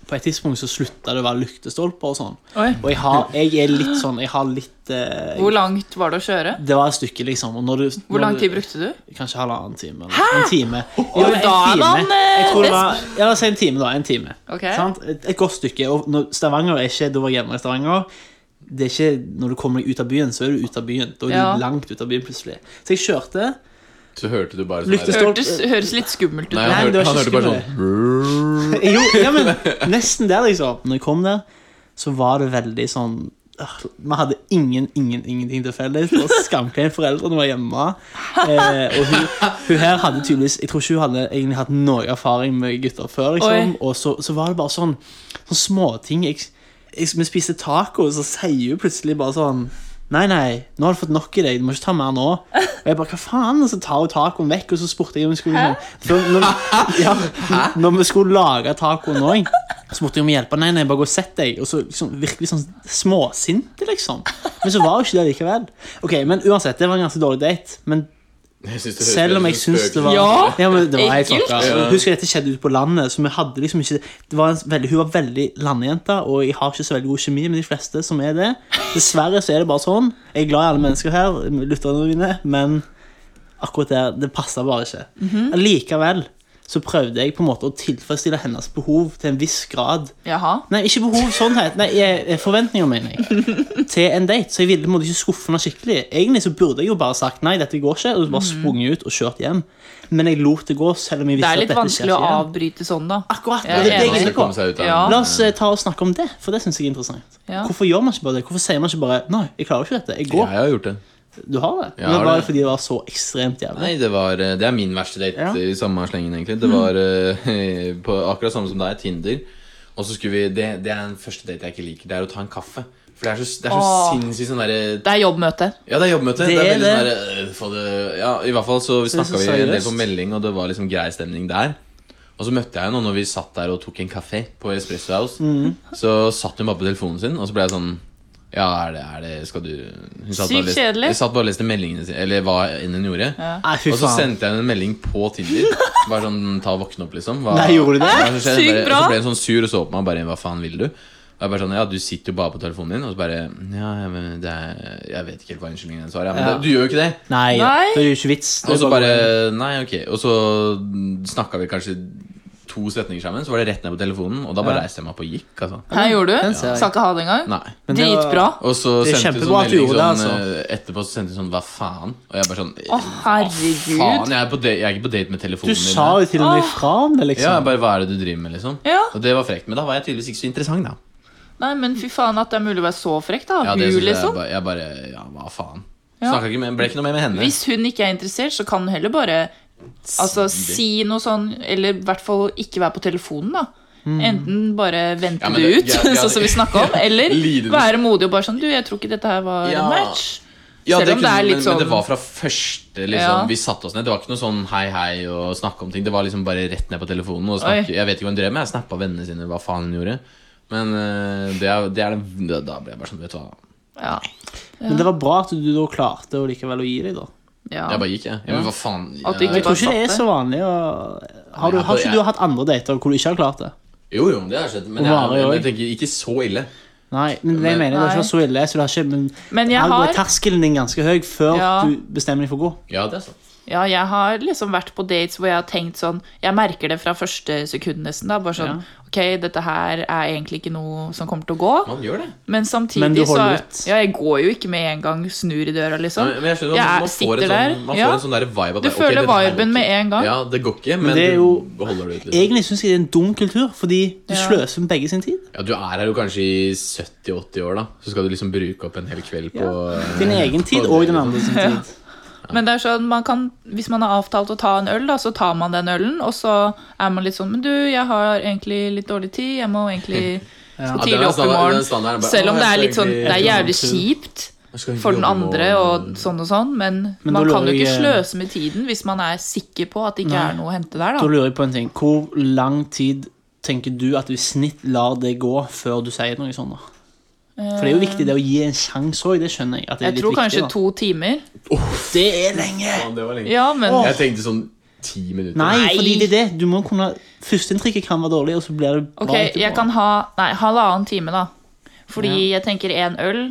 Speaker 3: på et tidspunkt så slutta det å være lyktestolper og sånn.
Speaker 4: Oi.
Speaker 3: Og jeg, har, jeg er litt sånn Jeg har litt eh,
Speaker 4: Hvor langt var det å kjøre?
Speaker 3: Det var et stykke, liksom. Og når du,
Speaker 4: Hvor
Speaker 3: når
Speaker 4: lang
Speaker 3: du-
Speaker 4: tid brukte du?
Speaker 3: Kanskje halvannen time. Eller. En time. Ja,
Speaker 4: da er man, eh,
Speaker 3: jeg tror det var, ja, la oss si en time, da. En time.
Speaker 4: Ok.
Speaker 3: Sant? Et, et godt stykke. Og når Stavanger er ikke Da var jeg hjemme i Stavanger. Det er ikke, når du kommer deg ut av byen, så er du ute av byen. Da er du
Speaker 4: Ja.
Speaker 3: langt ut av byen plutselig. Så jeg kjørte.
Speaker 1: Så hørte du bare sånn
Speaker 3: Lyktestolper.
Speaker 1: her-
Speaker 4: Hørtes, høres litt skummelt ut.
Speaker 1: Nei,
Speaker 3: Nei,
Speaker 1: han,
Speaker 3: men det
Speaker 1: hørte,
Speaker 3: var
Speaker 1: han
Speaker 3: ikke
Speaker 1: hørte bare sånn
Speaker 3: Jo, ja, men nesten der, liksom. Når jeg kom der, så var det veldig sånn øh, Vi hadde ingen, ingen, ingenting til felles. Det var skamklein foreldrene var hjemme. Eh, og hun, hun her hadde tydeligvis Jeg tror ikke hun hadde egentlig hatt noe erfaring med gutter før. liksom
Speaker 4: Oi.
Speaker 3: Og så, så var det bare sånn Sånne småting. Jeg, jeg, vi spiste taco, og så sier hun plutselig bare sånn Nei, nei, nå har du fått nok i deg. Du må ikke ta mer nå. Og jeg bare, hva faen? Og så tar hun tacoen vekk, og så spurte jeg om vi skulle sånn, når, når, ja, når vi skulle lage tacoen òg, så måtte jeg om hjelp. Nei, nei, bare gå og sett deg. Og så liksom, virkelig sånn småsinte, liksom. Men så var hun ikke det likevel. Ok, men Uansett, det var en ganske dårlig date. Men selv om jeg syns det var
Speaker 4: Ja,
Speaker 3: men det var helt
Speaker 4: ekkelt.
Speaker 3: fucka.
Speaker 1: Ja.
Speaker 3: Husk at dette skjedde ute på landet, så vi hadde liksom ikke det var en veldig, Hun var veldig landjente, og jeg har ikke så veldig god kjemi med de fleste som er det. Dessverre så er det bare sånn. Jeg er glad i alle mennesker her, lytterne mine, men akkurat der, det passa bare ikke.
Speaker 4: Mhm.
Speaker 3: Allikevel så prøvde jeg på en måte å tilfredsstille hennes behov til en viss grad.
Speaker 4: Jaha.
Speaker 3: Nei, ikke behov, sannhet. Nei, jeg- jeg- forventninger, mener jeg. Til en date. Så jeg ville på en måte ikke skuffe henne skikkelig. Egentlig så burde jeg jo bare sagt nei, dette går ikke, og
Speaker 4: Mm.
Speaker 3: bare sprunget ut og kjørt hjem. Men jeg lot det gå, selv om jeg
Speaker 4: Det
Speaker 3: visste
Speaker 4: er
Speaker 3: at
Speaker 4: litt
Speaker 3: dette skjer
Speaker 4: vanskelig å
Speaker 3: ikke igjen.
Speaker 4: avbryte sånn, da.
Speaker 3: Akkurat,
Speaker 4: Jeg er
Speaker 3: og det er det jeg
Speaker 4: enig.
Speaker 3: er inne på.
Speaker 4: Ja.
Speaker 3: La oss eh, ta og snakke om det, for det syns jeg er interessant.
Speaker 4: Ja.
Speaker 3: Hvorfor gjør man ikke bare det? Hvorfor sier man ikke bare 'nei, jeg klarer ikke dette', jeg
Speaker 1: Ja,
Speaker 3: går?
Speaker 1: jeg har gjort det.
Speaker 3: Du har det?
Speaker 1: Jeg
Speaker 3: Men
Speaker 1: har
Speaker 3: bare
Speaker 1: det.
Speaker 3: fordi det var så ekstremt jævlig?
Speaker 1: Nei, det, var, eh, det er min verste date
Speaker 3: Ja. Mm.
Speaker 1: i samme slengen, egentlig. Det var eh, på akkurat samme som deg, Tinder. Og så skulle vi Det, det er den første date jeg ikke liker. Det er å ta en kaffe. For det er så, det er så
Speaker 4: Åh.
Speaker 1: sinnssykt sånn derre
Speaker 4: Det er jobbmøte.
Speaker 1: Ja, det er jobbmøte.
Speaker 3: Det
Speaker 1: Det er
Speaker 3: er
Speaker 1: veldig sånn der, øh, få det- ja, I hvert fall så
Speaker 3: er så
Speaker 1: snakka vi en del på
Speaker 3: seriøst.
Speaker 1: melding, og det var liksom grei stemning der. Og så møtte jeg henne, og når vi satt der og tok en kafé på Espresso House, så satt hun bare på telefonen sin, og så ble jeg sånn Ja, er det, er det Skal du Hun satt bare og
Speaker 4: Sykt
Speaker 1: leste-
Speaker 4: kjedelig.
Speaker 1: Hun satt bare og leste meldingene sine, eller hva enn hun gjorde.
Speaker 3: Nei, fy
Speaker 1: Og så
Speaker 3: faen.
Speaker 1: sendte jeg henne en melding på Tinder. Bare sånn, ta og våkne opp liksom hva,
Speaker 3: Nei, gjorde du det?
Speaker 1: Hva er som skjer?
Speaker 4: Sykt
Speaker 1: Bare-
Speaker 4: bra.
Speaker 1: Så ble hun sånn sur og så på meg og bare Hva faen vil du? Og jeg bare sånn, ja, Du sitter jo bare på telefonen din, og så bare Ja, jeg, men det er, jeg vet ikke helt hva unnskyldningen hennes var. Ja, men
Speaker 3: Ja.
Speaker 1: det, du gjør jo ikke det.
Speaker 3: Nei,
Speaker 4: Nei.
Speaker 3: det er jo ikke vits. Det er
Speaker 1: Og så bare
Speaker 3: bare-
Speaker 1: Nei, ok. Og så snakka vi kanskje to setninger sammen, så var det rett ned på telefonen, og da bare
Speaker 3: Ja.
Speaker 1: reiste jeg meg opp og gikk, altså.
Speaker 4: Her gjorde
Speaker 3: Den
Speaker 4: du.
Speaker 3: ser jeg.
Speaker 4: Skal ikke ha det engang.
Speaker 1: Nei.
Speaker 3: Men det var-
Speaker 4: Dritbra.
Speaker 1: Og så
Speaker 3: Det er
Speaker 1: sendte hun
Speaker 3: kjempebra
Speaker 1: sånn
Speaker 3: at du
Speaker 1: melding sånn
Speaker 3: gjorde det, altså.
Speaker 1: eh, Etterpå så sendte hun sånn Hva faen? Og jeg bare sånn
Speaker 4: Å,
Speaker 1: Faen,
Speaker 4: herregud.
Speaker 1: jeg er, på date, jeg er ikke på date med telefonen
Speaker 3: Du
Speaker 1: din.
Speaker 3: sa jo til og med ifra om det, liksom.
Speaker 1: Ja, jeg bare hva er det du driver med, liksom?
Speaker 4: Sånn. Ja.
Speaker 1: Og det var frekt, men da var jeg tydeligvis ikke så interessant, da.
Speaker 4: Nei, men fy faen at det er mulig å være så frekk, da.
Speaker 1: Ja, det
Speaker 4: Hun,
Speaker 1: synes jeg,
Speaker 4: liksom.
Speaker 1: bare, jeg bare Ja, hva faen?
Speaker 4: Ja.
Speaker 1: Snakket ikke med, ble ikke noe mer med henne.
Speaker 4: Hvis hun ikke er interessert, så kan hun heller bare altså,
Speaker 1: det.
Speaker 4: si noe sånn Eller i hvert fall ikke være på telefonen, da. Enten bare
Speaker 1: Mm.
Speaker 4: vente
Speaker 1: Ja, men
Speaker 4: det,
Speaker 1: det-
Speaker 4: ut,
Speaker 1: ja, ja,
Speaker 4: sånn som vi snakka om, eller
Speaker 1: Lidende.
Speaker 4: være modig og bare sånn Du, jeg tror ikke dette her var
Speaker 1: Ja.
Speaker 4: en match.
Speaker 1: Ja,
Speaker 4: Selv om det
Speaker 1: kunne-
Speaker 4: er litt
Speaker 1: men, men
Speaker 4: sånn-
Speaker 1: det var fra første liksom,
Speaker 4: Ja.
Speaker 1: vi satte oss ned. Det var ikke noe sånn hei, hei og snakke om ting. Det var liksom bare rett ned på telefonen. Og
Speaker 4: Oi.
Speaker 1: snakke, jeg vet ikke hva hun drev med. Jeg snappa vennene sine, hva faen hun gjorde. Men eh, det er, det er den, da- da ble jeg bare sånn, vet du hva.
Speaker 4: Ja.
Speaker 3: Men det var bra at du da klarte å likevel å gi deg, da.
Speaker 4: ja.
Speaker 1: Jeg bare gikk, jeg. Ja, men hva faen?
Speaker 4: At du ikke
Speaker 1: jeg,
Speaker 3: Jeg tror ikke det er så vanlig å Har, du, har ikke du hatt andre dater hvor du ikke har klart det?
Speaker 1: jo, jo, det har skjedd. Men jeg,
Speaker 3: Varer
Speaker 1: jeg,
Speaker 3: jo
Speaker 1: jeg tenker ikke så ille.
Speaker 3: Nei, men det jeg mener det er ikke
Speaker 4: Nei.
Speaker 3: så ille, så du har ikke Men,
Speaker 4: Men jeg
Speaker 3: her går
Speaker 4: har-
Speaker 3: terskelen din ganske høy før
Speaker 4: Ja.
Speaker 3: du bestemmer deg for å gå.
Speaker 1: Ja, det er sant.
Speaker 4: Ja, jeg har liksom vært på dates hvor jeg har tenkt sånn Jeg merker det fra første sekund nesten. da Bare sånn Ok, dette her er egentlig ikke noe som kommer til å gå.
Speaker 1: Man gjør det.
Speaker 4: Men samtidig
Speaker 3: Men du holder
Speaker 4: så
Speaker 3: ut.
Speaker 4: Ja, jeg går jo ikke med en gang, snur i døra, liksom.
Speaker 1: Men jeg skjønner,
Speaker 4: Jeg
Speaker 1: at
Speaker 4: er-
Speaker 1: man, får
Speaker 4: sitter
Speaker 1: en
Speaker 4: der,
Speaker 1: sånn, man
Speaker 4: ja.
Speaker 1: får en sånn der vibe at
Speaker 4: Du
Speaker 1: det- ok,
Speaker 4: føler
Speaker 1: dette her går
Speaker 4: viben med
Speaker 1: ikke.
Speaker 4: en gang.
Speaker 1: Ja, det går ikke, men,
Speaker 3: det er jo-
Speaker 1: du holder det ut. Liksom.
Speaker 3: Egentlig syns jeg det er en dum kultur, fordi du
Speaker 4: Ja.
Speaker 3: sløser med begge sin tid.
Speaker 1: Ja, du er her jo kanskje i 70-80 år, da. Så skal du liksom bruke opp en hel kveld på eh,
Speaker 3: Din egen tid og den andre sin tid.
Speaker 4: Men det er sånn, man kan, hvis man har avtalt å ta en øl, da, så tar man den ølen. Og så er man litt sånn Men du, jeg har egentlig litt dårlig tid. Jeg må egentlig
Speaker 3: Ja.
Speaker 1: Ja, den er
Speaker 4: tidlig opp i
Speaker 1: standard- den
Speaker 4: morgen.
Speaker 1: standarden er bare,
Speaker 4: Selv om
Speaker 1: «Å,
Speaker 4: det
Speaker 1: jeg
Speaker 4: er
Speaker 1: skal
Speaker 4: litt sånn
Speaker 1: egentlig-
Speaker 4: Det er jævlig
Speaker 3: Jeg skal
Speaker 4: kjipt
Speaker 1: Jeg skal
Speaker 4: for den
Speaker 1: jobbe nå,
Speaker 4: andre og sånn og sånn, men,
Speaker 3: Men
Speaker 4: man
Speaker 3: da
Speaker 4: kan jo
Speaker 3: lurer
Speaker 4: ikke
Speaker 3: jeg-
Speaker 4: sløse med tiden hvis man er sikker på at det ikke
Speaker 3: eh, Nei.
Speaker 4: er noe å hente der,
Speaker 3: Da
Speaker 4: da.
Speaker 3: lurer jeg på en ting. Hvor lang tid tenker du at du i snitt lar det gå før du sier noe sånt? da? For det er jo viktig det å gi en sjanse òg, det skjønner jeg. At det er
Speaker 4: Jeg
Speaker 3: litt
Speaker 4: tror kanskje
Speaker 3: viktig, da.
Speaker 4: to timer.
Speaker 3: Det er lenge!
Speaker 1: Faen, det var lenge.
Speaker 4: Ja, men
Speaker 1: Jeg tenkte sånn ti minutter.
Speaker 3: Nei,
Speaker 4: Nei.
Speaker 3: fordi det er det. Du må kunne Førsteinntrykket kan være dårlig, og så blir det bra
Speaker 4: Ok, jeg kan ha Nei, halvannen time, da. Fordi jeg tenker én øl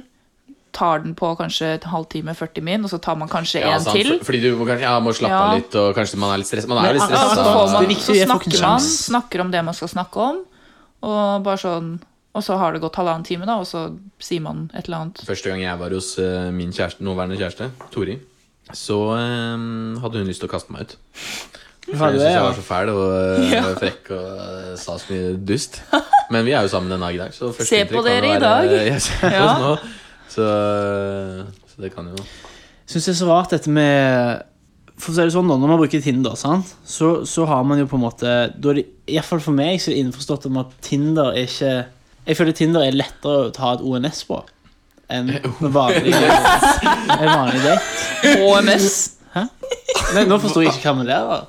Speaker 4: tar den på kanskje en halvtime, 40 min, og så tar man kanskje
Speaker 1: Ja,
Speaker 4: en
Speaker 1: sant,
Speaker 4: til.
Speaker 1: for- Fordi du må kanskje ja, må slappe
Speaker 4: Ja.
Speaker 1: av litt, og kanskje man er litt stressa. Man er jo litt
Speaker 3: Ja,
Speaker 4: Ja,
Speaker 1: stressa.
Speaker 4: så,
Speaker 3: sant.
Speaker 4: får
Speaker 3: Det
Speaker 4: man,
Speaker 3: viktige
Speaker 4: så
Speaker 3: er fucking
Speaker 4: snakker man
Speaker 3: sjans.
Speaker 4: snakker om det man skal snakke om, og bare sånn Og så har det gått halvannen time, da, og så sier man et eller annet.
Speaker 1: Første gang jeg var hos eh, min kjæreste, nåværende kjæreste, Tori, så eh, hadde hun lyst til å kaste meg ut. For
Speaker 3: Hadde
Speaker 1: hun
Speaker 3: det,
Speaker 1: syntes jeg
Speaker 3: ja.
Speaker 1: var så fæl og eh,
Speaker 4: Ja.
Speaker 1: frekk og eh, sa så mye dust. Men vi er jo sammen den dag i dag, så første
Speaker 4: Se
Speaker 1: inntrykk
Speaker 4: på
Speaker 1: kan
Speaker 4: dere i
Speaker 1: jo
Speaker 4: dag.
Speaker 1: være- Ja, se på
Speaker 4: Ja.
Speaker 1: oss nå. Så, eh, så det kan jo
Speaker 3: syns det er så rart dette med For å si det sånn da, Når man bruker Tinder, sant? Så, så har man jo på en måte da er det, i hvert fall for meg så er det innforstått om at Tinder er ikke Jeg føler Tinder er lettere å ta et ONS på enn en vanlig, en vanlig date.
Speaker 4: HMS.
Speaker 3: Nei, nå forstår jeg ikke hva med det var.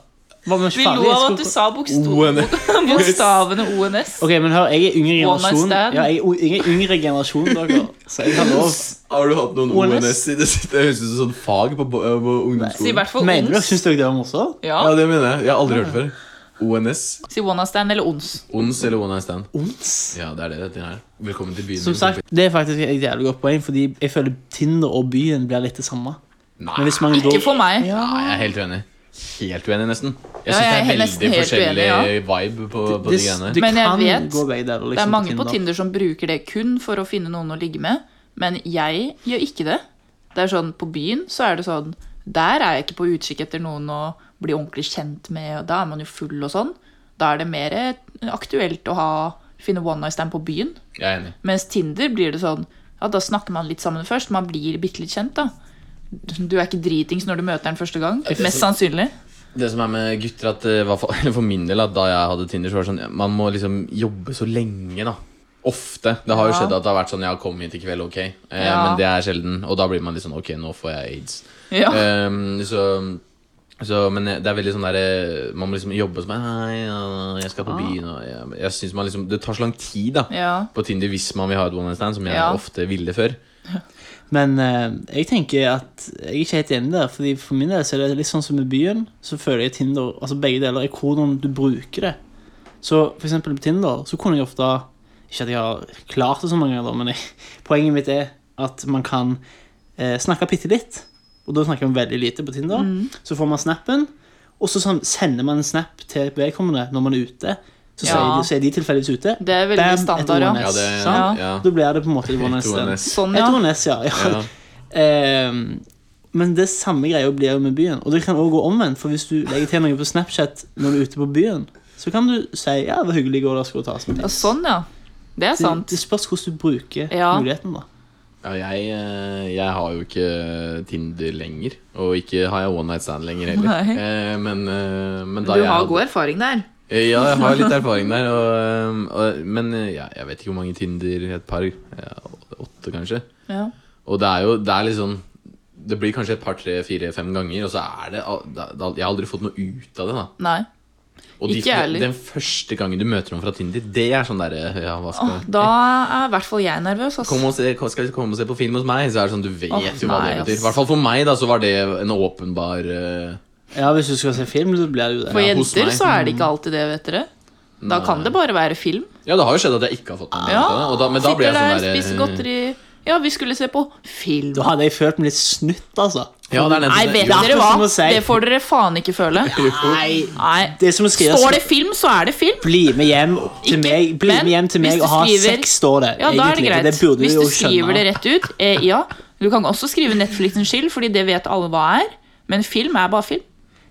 Speaker 3: Hva med
Speaker 4: Vi lo av at du sa boksto- bokstavene ONS.
Speaker 3: Ok, men hør, jeg er yngre
Speaker 4: One night
Speaker 3: generasjon.
Speaker 4: stand.
Speaker 3: Ja, jeg, er o- jeg er yngre generasjon, dere. Så jeg har lov.
Speaker 1: Har du hatt noen
Speaker 3: ONS?
Speaker 1: ONS i det siste? Det høres ut som sånn fag på, på
Speaker 4: Si i
Speaker 1: ungdomsskolen.
Speaker 4: hvert fall
Speaker 3: Mener dere,
Speaker 4: ONS.
Speaker 3: syns dere det var morsomt?
Speaker 4: Ja,
Speaker 1: Ja, det mener jeg. Jeg har aldri hørt det før. ONS.
Speaker 4: Si One Night Stand eller ONS.
Speaker 1: Ons eller one night stand?
Speaker 3: Ons?
Speaker 1: Ja, det er det dette her. Velkommen til byen.
Speaker 3: Som sagt, det er faktisk et jævlig godt poeng, fordi jeg føler Tinder og byen blir litt det samme.
Speaker 1: Nei,
Speaker 3: Men hvis man går
Speaker 4: Ah, Ikke for meg.
Speaker 1: ja, jeg er helt uenig. Helt uenig, nesten. Jeg
Speaker 4: Ja,
Speaker 1: syns
Speaker 4: jeg er
Speaker 1: det er
Speaker 4: nesten
Speaker 1: veldig
Speaker 4: helt
Speaker 1: forskjellig
Speaker 4: uenig,
Speaker 1: vibe på, på
Speaker 3: det,
Speaker 1: de greiene.
Speaker 3: det
Speaker 4: Men jeg
Speaker 3: kan
Speaker 4: vet,
Speaker 3: gå begge deler, liksom,
Speaker 4: Det er mange på Tinder som bruker det kun for å finne noen å ligge med, men jeg gjør ikke det. Det er sånn, På byen så er det sånn Der er jeg ikke på utkikk etter noen å bli ordentlig kjent med, og da er man jo full og sånn. Da er det mer eh, aktuelt å ha, finne one night stand på byen.
Speaker 1: Jeg er enig.
Speaker 4: Mens Tinder blir det sånn Ja, da snakker man litt sammen først. Man blir bitte litt kjent, da. Du er ikke dritings når du møter den første gang. Mest sannsynlig.
Speaker 1: Det som er med gutter, at, eh, hva for, eller for min del, at da jeg hadde Tinder, så var det sånn Man må liksom jobbe så lenge, da. Ofte. Det har jo
Speaker 4: Ja.
Speaker 1: skjedd at det har vært sånn Ja, kom hit i kveld, ok. Eh,
Speaker 4: Ja.
Speaker 1: Men det er sjelden. Og da blir man litt sånn Ok, nå får jeg aids.
Speaker 4: Ja.
Speaker 3: Eh,
Speaker 1: Ehm, så, så, men det er veldig sånn der eh, Man må liksom jobbe som Nei, ja, jeg skal på byen og jeg, jeg synes man liksom Det tar så lang tid da
Speaker 4: Ah. Ja.
Speaker 1: på Tinder hvis man vil ha et one night stand, som jeg
Speaker 4: Ja.
Speaker 1: ofte ville før.
Speaker 3: Men eh, jeg tenker at jeg er ikke helt enig der, fordi for min del så er det litt sånn som med byen. Så føler jeg Tinder Altså begge deler er hvordan du bruker det. Så for eksempel på Tinder så kunne jeg ofte Ikke at jeg har klart det så mange ganger, da, men jeg, poenget mitt er at man kan eh, snakke bitte litt. Og da snakker man veldig lite på Tinder.
Speaker 4: Mm.
Speaker 3: Så får man snappen, og så sånn, sender man en snap til vedkommende når man er ute. Så,
Speaker 4: Ja.
Speaker 3: sier de, så er de tilfeldigvis ute.
Speaker 4: Det er veldig
Speaker 3: Bam, et
Speaker 4: standard, ja.
Speaker 3: ONS,
Speaker 1: Ja, det, ja.
Speaker 3: sant?
Speaker 1: Ja.
Speaker 3: Da blir det på en måte et
Speaker 1: Et
Speaker 3: one-night-stand.
Speaker 1: ONS.
Speaker 4: Sånn,
Speaker 3: Jeg
Speaker 4: ja.
Speaker 3: tror Nes, ja. ja.
Speaker 1: Ja.
Speaker 3: Ehm, men det samme greia blir jo med byen. Og det kan også gå omvendt, for hvis du legger til noe på Snapchat når du er ute på byen, så kan du si ja, det var hyggelig i går, da skal vi ta oss en
Speaker 4: Ja,
Speaker 3: pils.
Speaker 4: Sånn, ja. Det er
Speaker 3: Det,
Speaker 4: sant.
Speaker 3: det spørs hvordan du bruker
Speaker 4: Ja.
Speaker 3: muligheten, da.
Speaker 1: Ja, jeg, eh, jeg har jo ikke Tinder lenger, og ikke har jeg one night stand lenger heller.
Speaker 4: Nei.
Speaker 1: Eh, men, eh, men da
Speaker 4: Du
Speaker 1: jeg
Speaker 4: har
Speaker 1: hadde-
Speaker 4: god erfaring der.
Speaker 1: Eh, Ja, jeg har litt erfaring der. Og, eh, og, men eh, ja, jeg vet ikke hvor mange Tinder. Et par? Ja, åtte, kanskje?
Speaker 4: Ja.
Speaker 1: Og det er jo det er litt sånn Det blir kanskje et par, tre, fire, fem ganger, og så er det al- da- da- Jeg har aldri fått noe ut av det, da.
Speaker 4: Nei.
Speaker 1: Og de,
Speaker 4: Ikke jeg heller.
Speaker 1: den første gangen du møter noen fra Tinder, det er sånn derre Ja, hva skal
Speaker 4: Åh, da er i hvert fall jeg nervøs. ass.
Speaker 1: Kom og se, kom- skal du komme og se på film hos meg? Så er det sånn, du vet
Speaker 4: Åh,
Speaker 1: jo hva
Speaker 4: nei,
Speaker 1: det
Speaker 4: ass.
Speaker 1: betyr. I hvert fall for meg, da, så var det en åpenbar eh,
Speaker 3: Ja, hvis du skal se film, så blir det jo det.
Speaker 4: For
Speaker 1: Ja, hos
Speaker 4: jenter
Speaker 1: meg.
Speaker 4: så er det ikke alltid det, vet dere. Da kan det bare være film.
Speaker 1: Ja, det har jo skjedd at jeg ikke har fått noe
Speaker 4: Ja,
Speaker 1: ut av det. Og da, men da ble
Speaker 4: Sitter
Speaker 1: jeg
Speaker 4: der,
Speaker 1: sånn
Speaker 4: spiser
Speaker 1: derre
Speaker 4: godteri Ja, vi skulle se på film.
Speaker 3: Da hadde jeg følt meg litt snytt, altså.
Speaker 1: Ja, det er
Speaker 4: Nei, vet
Speaker 1: Jo.
Speaker 3: Ja,
Speaker 4: dere
Speaker 3: det er som
Speaker 4: hva?
Speaker 3: å si.
Speaker 4: Det får dere faen ikke føle.
Speaker 3: Nei.
Speaker 4: Nei.
Speaker 3: Det er som å skrive
Speaker 4: Står det film, så er det film.
Speaker 3: Bli med hjem til
Speaker 4: Ikke-
Speaker 3: meg, bli
Speaker 4: men
Speaker 3: med hjem til
Speaker 4: hvis
Speaker 3: meg
Speaker 4: du
Speaker 3: og ha
Speaker 4: skriver-
Speaker 3: sex, står det.
Speaker 4: Ja, da er det
Speaker 3: egentlig.
Speaker 4: greit.
Speaker 3: Det burde
Speaker 4: Hvis
Speaker 3: du
Speaker 4: du
Speaker 3: jo skjønne.
Speaker 4: skriver det rett ut. Eh, ja. Du kan også skrive Netflix en skyld, fordi det vet alle hva er. Men film er bare film.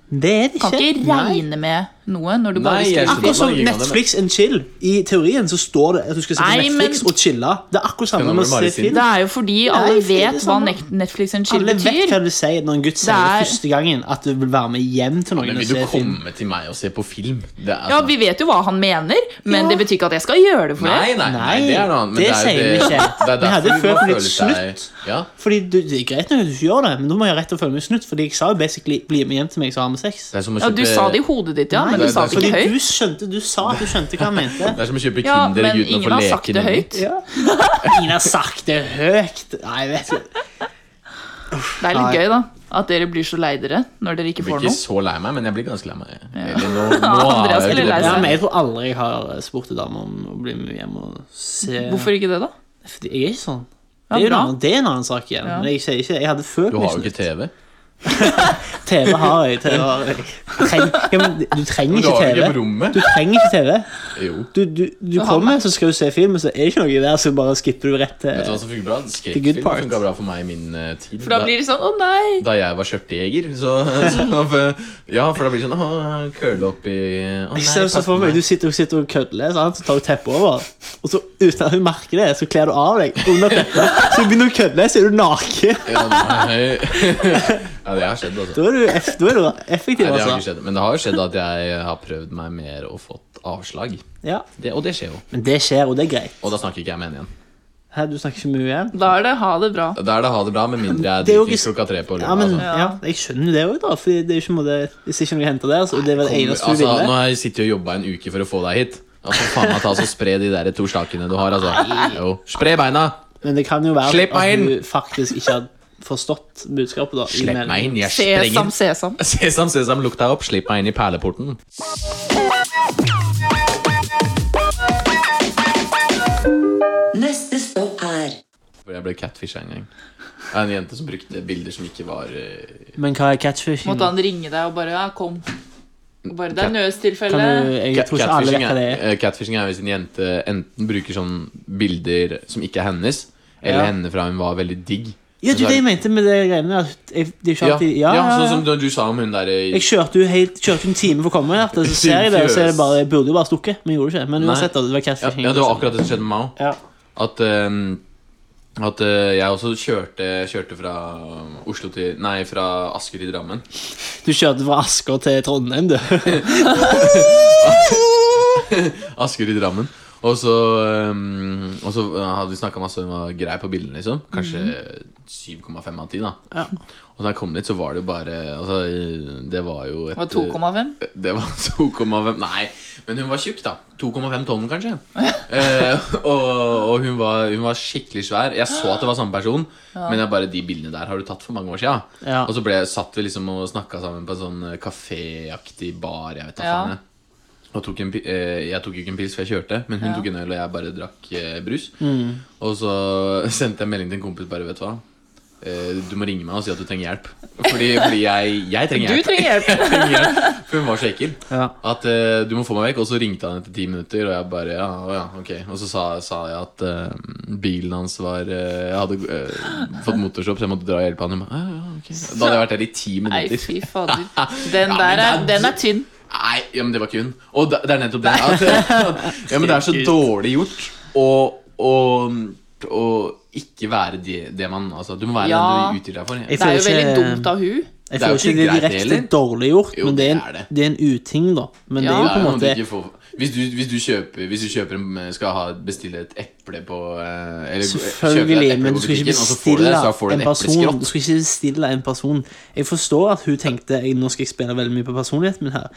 Speaker 3: Det er det
Speaker 4: Kan
Speaker 3: ikke.
Speaker 4: ikke
Speaker 3: Nei.
Speaker 4: regne med noe når du
Speaker 1: Nei,
Speaker 4: bare
Speaker 1: jeg
Speaker 4: skriver
Speaker 1: skjønner.
Speaker 3: Akkurat som Netflix and chill. I teorien så står det at du skal se på
Speaker 4: Nei, men-
Speaker 3: Netflix og chille. Det er akkurat samme
Speaker 1: Skjønner
Speaker 3: med
Speaker 1: du
Speaker 3: å
Speaker 1: bare
Speaker 3: se
Speaker 1: sin?
Speaker 3: film.
Speaker 4: Det er jo fordi
Speaker 3: Nei, fordi
Speaker 4: alle
Speaker 3: det er
Speaker 4: vet hva
Speaker 3: samme.
Speaker 4: Net- Netflix and chill
Speaker 3: Alle vet hva
Speaker 4: betyr.
Speaker 3: du sier når en gutt sier
Speaker 4: Det er-
Speaker 3: det første gangen at du vil være med hjem til noen
Speaker 1: Men
Speaker 3: og
Speaker 1: vil du
Speaker 3: se film.
Speaker 1: komme til meg og se på film? Det er, sånn-
Speaker 4: Ja, vi vet jo hva han mener, men det betyr ikke at jeg skal gjøre det for
Speaker 1: Nei,
Speaker 4: deg.
Speaker 1: nei, nei, det er noe annet. men
Speaker 3: det
Speaker 1: er jo
Speaker 3: sier vi
Speaker 1: det-
Speaker 3: ikke.
Speaker 1: Det er
Speaker 3: Vi
Speaker 1: derfor
Speaker 3: hadde
Speaker 1: må
Speaker 3: følt litt
Speaker 1: føle seg-
Speaker 3: snutt.
Speaker 1: Ja,
Speaker 3: Fordi du, Det er greit nok at du ikke gjør det, men da må jeg ha rett til å føle meg snutt. Fordi jeg sa jo basically 'bli med hjem til meg, så har vi sex'.
Speaker 1: det er som å
Speaker 4: Ja, Du
Speaker 1: kjøpe-
Speaker 4: sa det i hodet ditt, ja,
Speaker 3: Nei,
Speaker 4: men du
Speaker 1: det-
Speaker 4: sa det
Speaker 1: det-
Speaker 3: Fordi
Speaker 4: ikke høyt.
Speaker 3: du skjønte, du sa at du skjønte hva han
Speaker 1: Det
Speaker 3: mente.
Speaker 1: er som å kjøpe
Speaker 4: Ja,
Speaker 1: Kinder
Speaker 4: men
Speaker 1: uten å få
Speaker 4: ingen har
Speaker 1: leke
Speaker 4: sagt det
Speaker 1: den.
Speaker 4: høyt.
Speaker 3: Ja. Ingen har sagt det høyt. Nei, jeg vet ikke.
Speaker 4: Det er litt
Speaker 3: Nei.
Speaker 4: gøy, da. At dere blir så lei dere når dere ikke
Speaker 1: Jeg
Speaker 4: får
Speaker 1: blir ikke
Speaker 4: noe.
Speaker 1: så lei meg, men jeg blir ganske lei meg. Eller nå, nå
Speaker 4: Ja, Andreas
Speaker 1: er jeg
Speaker 4: blir
Speaker 3: Ja,
Speaker 4: lei seg.
Speaker 1: ikke
Speaker 3: men jeg tror aldri jeg har spurt en dame om å bli med hjem og se
Speaker 4: Hvorfor ikke det, da?
Speaker 3: Fordi jeg er ikke sånn.
Speaker 4: Ja,
Speaker 3: Det er, jo en
Speaker 4: bra.
Speaker 3: annen, det er en annen sak igjen.
Speaker 4: Ja.
Speaker 3: Men jeg, sier ikke, jeg hadde følt
Speaker 1: Du
Speaker 3: meg
Speaker 1: har jo
Speaker 3: snutt.
Speaker 1: ikke TV.
Speaker 3: TV har jeg. TV har jeg. Treng, ja, men du
Speaker 1: Du
Speaker 3: trenger ikke
Speaker 1: har jo ikke på
Speaker 3: TV.
Speaker 1: rommet.
Speaker 3: Du trenger ikke TV.
Speaker 1: Jo.
Speaker 3: Du, du, du
Speaker 4: har
Speaker 3: kommer, så skal du se film, og så er det ikke noe der, så bare skipper du
Speaker 1: Vet
Speaker 3: rett
Speaker 1: du hva
Speaker 3: til
Speaker 1: som funker bra?
Speaker 3: good
Speaker 1: Skrekkfilm
Speaker 3: part.
Speaker 1: funka bra for meg i min eh, tid.
Speaker 4: For da blir det sånn Å, nei!
Speaker 1: da jeg var skjørtejeger, så, så Ja, for da blir det sånn Å, curle opp i Å,
Speaker 3: Jeg ser så
Speaker 1: pass
Speaker 3: for meg,
Speaker 1: meg.
Speaker 3: Du sitter og, sitter og kødler, sant? så tar du teppet over. Og så uten at hun merker det, så kler du av deg under teppet. Så begynner du å kødle, så er du naken.
Speaker 1: Ja, nei. ja, det har skjedd, altså.
Speaker 3: Da er du, eff- da er du
Speaker 1: Nei,
Speaker 3: effektiv,
Speaker 1: det har ikke
Speaker 3: altså.
Speaker 1: skjedd. Men det har jo skjedd at jeg har prøvd meg mer og fått avslag.
Speaker 3: Ja.
Speaker 1: Det, og det skjer jo.
Speaker 3: Men det skjer, og det er greit.
Speaker 1: Og da snakker ikke jeg med henne igjen.
Speaker 3: Hæ, du snakker ikke mye igjen?
Speaker 4: Da er det ha det bra.
Speaker 1: Da er det ha det bra, med mindre jeg
Speaker 3: Det er jo
Speaker 1: driter
Speaker 3: ikke-
Speaker 1: klokka tre på
Speaker 3: Ja, men,
Speaker 1: lørdag. altså.
Speaker 4: altså.
Speaker 3: ja, jeg skjønner jo det òg, da. For det er jo ikke en måte, hvis ikke noe henter der, så det var det
Speaker 1: Kommer-
Speaker 3: eneste du
Speaker 1: Altså, nå
Speaker 3: ville.
Speaker 1: har jeg sittet og jobba en uke for å få deg hit. Altså, faen meg ta så Spre de der to slakene du har. Altså. Jo. Spre beina!
Speaker 3: Men det kan jo være
Speaker 1: Slipp meg
Speaker 3: at
Speaker 1: inn!
Speaker 3: du faktisk ikke har forstått budskapet. da i
Speaker 1: Slipp meg
Speaker 3: meldingen.
Speaker 1: inn, jeg
Speaker 4: Sesam,
Speaker 1: sprenger.
Speaker 4: sesam.
Speaker 1: Sesam, sesam, lukk deg opp. Slipp meg inn i perleporten.
Speaker 2: Neste stopp er
Speaker 1: For jeg ble catfisha en gang. Det er En jente som brukte bilder som ikke var eh,
Speaker 3: Men hva er catfishing?
Speaker 4: Måtte han ringe deg og bare Ja, kom. Og bare Det er
Speaker 3: Kan
Speaker 4: nødstilfelle.
Speaker 3: du, jeg
Speaker 1: Cat-
Speaker 3: tror ikke alle
Speaker 1: catfishing,
Speaker 3: vet hva det
Speaker 1: er,
Speaker 3: er.
Speaker 1: eh, catfishing er hvis en jente enten bruker sånn bilder som ikke er hennes, eller
Speaker 3: Ja.
Speaker 1: henne fra hun var veldig digg.
Speaker 3: Ja, du, det jeg mente med det greiene at jeg, det er ikke
Speaker 1: Ja,
Speaker 3: alltid,
Speaker 1: ja,
Speaker 3: ja, ja,
Speaker 1: sånn som
Speaker 3: ja.
Speaker 1: du, du sa om hun der i
Speaker 3: Jeg kjørte jo helt, kjørte en time for å komme her, og så ser jeg det, og så er det bare, jeg burde jo bare stukket, men jeg gjorde det ikke. Men
Speaker 1: Nei.
Speaker 3: uansett, da, det var
Speaker 1: ja,
Speaker 3: catfishing. liksom.
Speaker 1: ja, det var akkurat det som skjedde med meg òg.
Speaker 3: Ja.
Speaker 1: At, ehm, at eh, jeg også kjørte, kjørte fra Oslo til Nei, fra Asker til Drammen.
Speaker 3: Du kjørte fra Asker til Trondheim, du.
Speaker 1: Asker til Drammen. Og så, ehm, og så hadde vi snakka masse om hun var grei på bildene, liksom. Kanskje
Speaker 4: Mhm.
Speaker 1: 7,5 av 10, da.
Speaker 3: Ja.
Speaker 1: Og da jeg kom dit, så var det jo bare altså, eh, Det var jo et
Speaker 4: Det var 2,5.
Speaker 1: Det var 2,5 Nei, men hun var tjukk, da. 2,5 tonn, kanskje. Eh, og og hun, var, hun var skikkelig svær. Jeg så at det var samme person, men jeg bare, de bildene der har du tatt for mange år siden.
Speaker 3: Ja.
Speaker 1: Og så ble, satt vi liksom og snakka sammen på en sånn eh, kaféaktig bar. Jeg vet da
Speaker 4: Ja.
Speaker 1: faen. jeg. Og tok en, pi- eh, jeg tok jo ikke en pils, for jeg kjørte, men hun tok en øl, og jeg bare drakk eh, brus.
Speaker 4: Mm.
Speaker 1: Og så sendte jeg melding til en kompis bare, vet du hva. Eh, Du må ringe meg og si at du trenger hjelp. Fordi, fordi jeg, jeg trenger
Speaker 4: Du
Speaker 1: hjelp.
Speaker 4: trenger hjelp.
Speaker 1: Jeg trenger hjelp. For hun var så ekkel.
Speaker 3: Ja.
Speaker 1: At eh, du må få meg vekk. Og så ringte han etter ti minutter, og jeg bare ja, å ja, ok. Og så sa, sa jeg at eh, bilen hans var eh, Jeg hadde eh, fått motorstopp, så jeg måtte dra og hjelpe han. Hun ba, Ja, ja, ok. Da hadde jeg vært der i ti
Speaker 4: Nei,
Speaker 1: minutter.
Speaker 4: fy fader.
Speaker 1: Ja,
Speaker 4: Den
Speaker 1: men
Speaker 4: der er,
Speaker 1: det er-
Speaker 4: den er tynn.
Speaker 1: Nei, ja, men det var ikke hun. Og det, det er nettopp det. At, at, ja, men det er så dårlig gjort å, å, å ikke være det, det man Altså, du må være
Speaker 4: Ja.
Speaker 1: den du utgir deg for.
Speaker 3: Jeg
Speaker 4: Det er
Speaker 3: føler
Speaker 4: jo veldig
Speaker 3: ikke-
Speaker 4: dumt av hun.
Speaker 3: Jeg
Speaker 1: Det er
Speaker 3: føler
Speaker 1: jo
Speaker 3: ikke
Speaker 1: ikke
Speaker 3: det er
Speaker 1: greit
Speaker 3: direkte
Speaker 1: heller.
Speaker 3: dårlig gjort,
Speaker 1: Jo,
Speaker 3: men det er,
Speaker 1: det er det.
Speaker 3: en, det er en uting, da. Men det er
Speaker 4: Ja.
Speaker 3: jo
Speaker 1: Det
Speaker 3: på
Speaker 1: er
Speaker 3: en
Speaker 1: jo om du
Speaker 3: måte
Speaker 1: ikke får- Hvis du, hvis du kjøper, hvis du kjøper en, skal ha, bestille et eple på eh, eller, kjøper et
Speaker 3: Selvfølgelig,
Speaker 1: eple
Speaker 3: men
Speaker 1: på
Speaker 3: du skal ikke
Speaker 1: butikken, og så får du det, så får
Speaker 3: bestille
Speaker 1: du en
Speaker 3: en person. Du
Speaker 1: epleskrott.
Speaker 3: skal ikke bestille en person. Jeg forstår at hun tenkte jeg, nå skal jeg spille veldig mye på personligheten min her.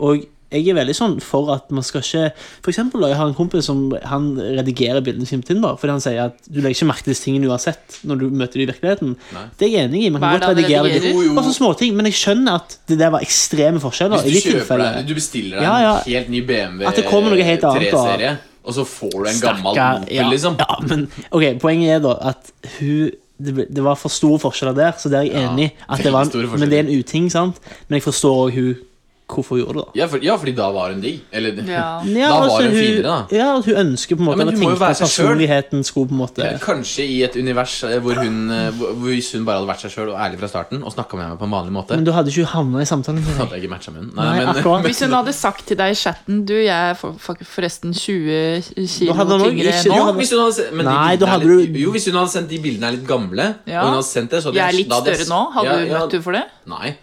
Speaker 3: Og jeg er veldig sånn for at man skal ikke For eksempel, da, jeg har en kompis som han redigerer bildene sine på Tinder fordi han sier at du legger ikke merke til disse tingene uansett når du møter dem i virkeligheten.
Speaker 1: Nei.
Speaker 3: Det er jeg enig i. Man
Speaker 4: Hva er
Speaker 3: kan godt
Speaker 4: det han
Speaker 3: redigere det.
Speaker 4: redigerer?
Speaker 1: Jo, jo.
Speaker 3: Og så småting. Men jeg skjønner at det der var ekstreme forskjeller.
Speaker 1: Hvis
Speaker 3: i
Speaker 1: du
Speaker 3: ditt
Speaker 1: kjøper
Speaker 3: tilfelle.
Speaker 1: deg, du bestiller deg
Speaker 3: Ja, ja.
Speaker 1: en helt ny BMW
Speaker 3: At det kommer noe helt annet, da.
Speaker 1: 3-serie, og så får du en gammel
Speaker 3: Stakkar,
Speaker 1: Opel,
Speaker 3: ja,
Speaker 1: liksom.
Speaker 3: Ja, men ok, poenget er da at hun det, ble- det var for store forskjeller der, så der er jeg
Speaker 1: Ja,
Speaker 3: enig. At
Speaker 1: veldig
Speaker 3: det var en,
Speaker 1: store
Speaker 3: men det er en uting, sant? Men jeg forstår òg hun hvorfor hun gjorde det. da.
Speaker 1: Ja, for, ja, fordi da var hun digg. Eller
Speaker 4: Ja.
Speaker 3: Ja,
Speaker 1: da
Speaker 3: altså,
Speaker 1: var hun
Speaker 3: hun-
Speaker 1: finere, da.
Speaker 3: Ja, at hun ønsker på en måte
Speaker 1: men
Speaker 3: eller
Speaker 1: hun må jo
Speaker 3: tenkte
Speaker 1: være
Speaker 3: at
Speaker 1: seg selv.
Speaker 3: personligheten skulle på en måte
Speaker 1: Kanskje i et univers eh, hvor hun eh, hvor- hvor Hvis hun bare hadde vært seg sjøl og ærlig fra starten og snakka med meg på en vanlig måte,
Speaker 3: Men du hadde ikke havna i samtalen med
Speaker 1: hadde
Speaker 3: henne.
Speaker 1: jeg ikke matcha med henne.
Speaker 3: Nei,
Speaker 1: men,
Speaker 3: akkurat.
Speaker 4: Hvis hun hadde sagt til deg i chatten Du, jeg er for, for- forresten 20 kilo
Speaker 3: Da hadde han nok
Speaker 4: tyngre
Speaker 3: ikke-
Speaker 4: nå.
Speaker 1: jo, hvis hun hadde, se- men de
Speaker 3: Nei, da
Speaker 1: bildene er
Speaker 3: hadde
Speaker 1: litt-
Speaker 3: du-
Speaker 1: jo, hvis hun hadde sendt de bildene er litt gamle
Speaker 4: Ja.
Speaker 1: Og hun hadde sendt det så hadde
Speaker 4: Jeg er litt
Speaker 1: da hadde jeg-
Speaker 4: større nå. Hadde du
Speaker 1: Ja, ja,
Speaker 4: møtt henne for det?
Speaker 1: Nei.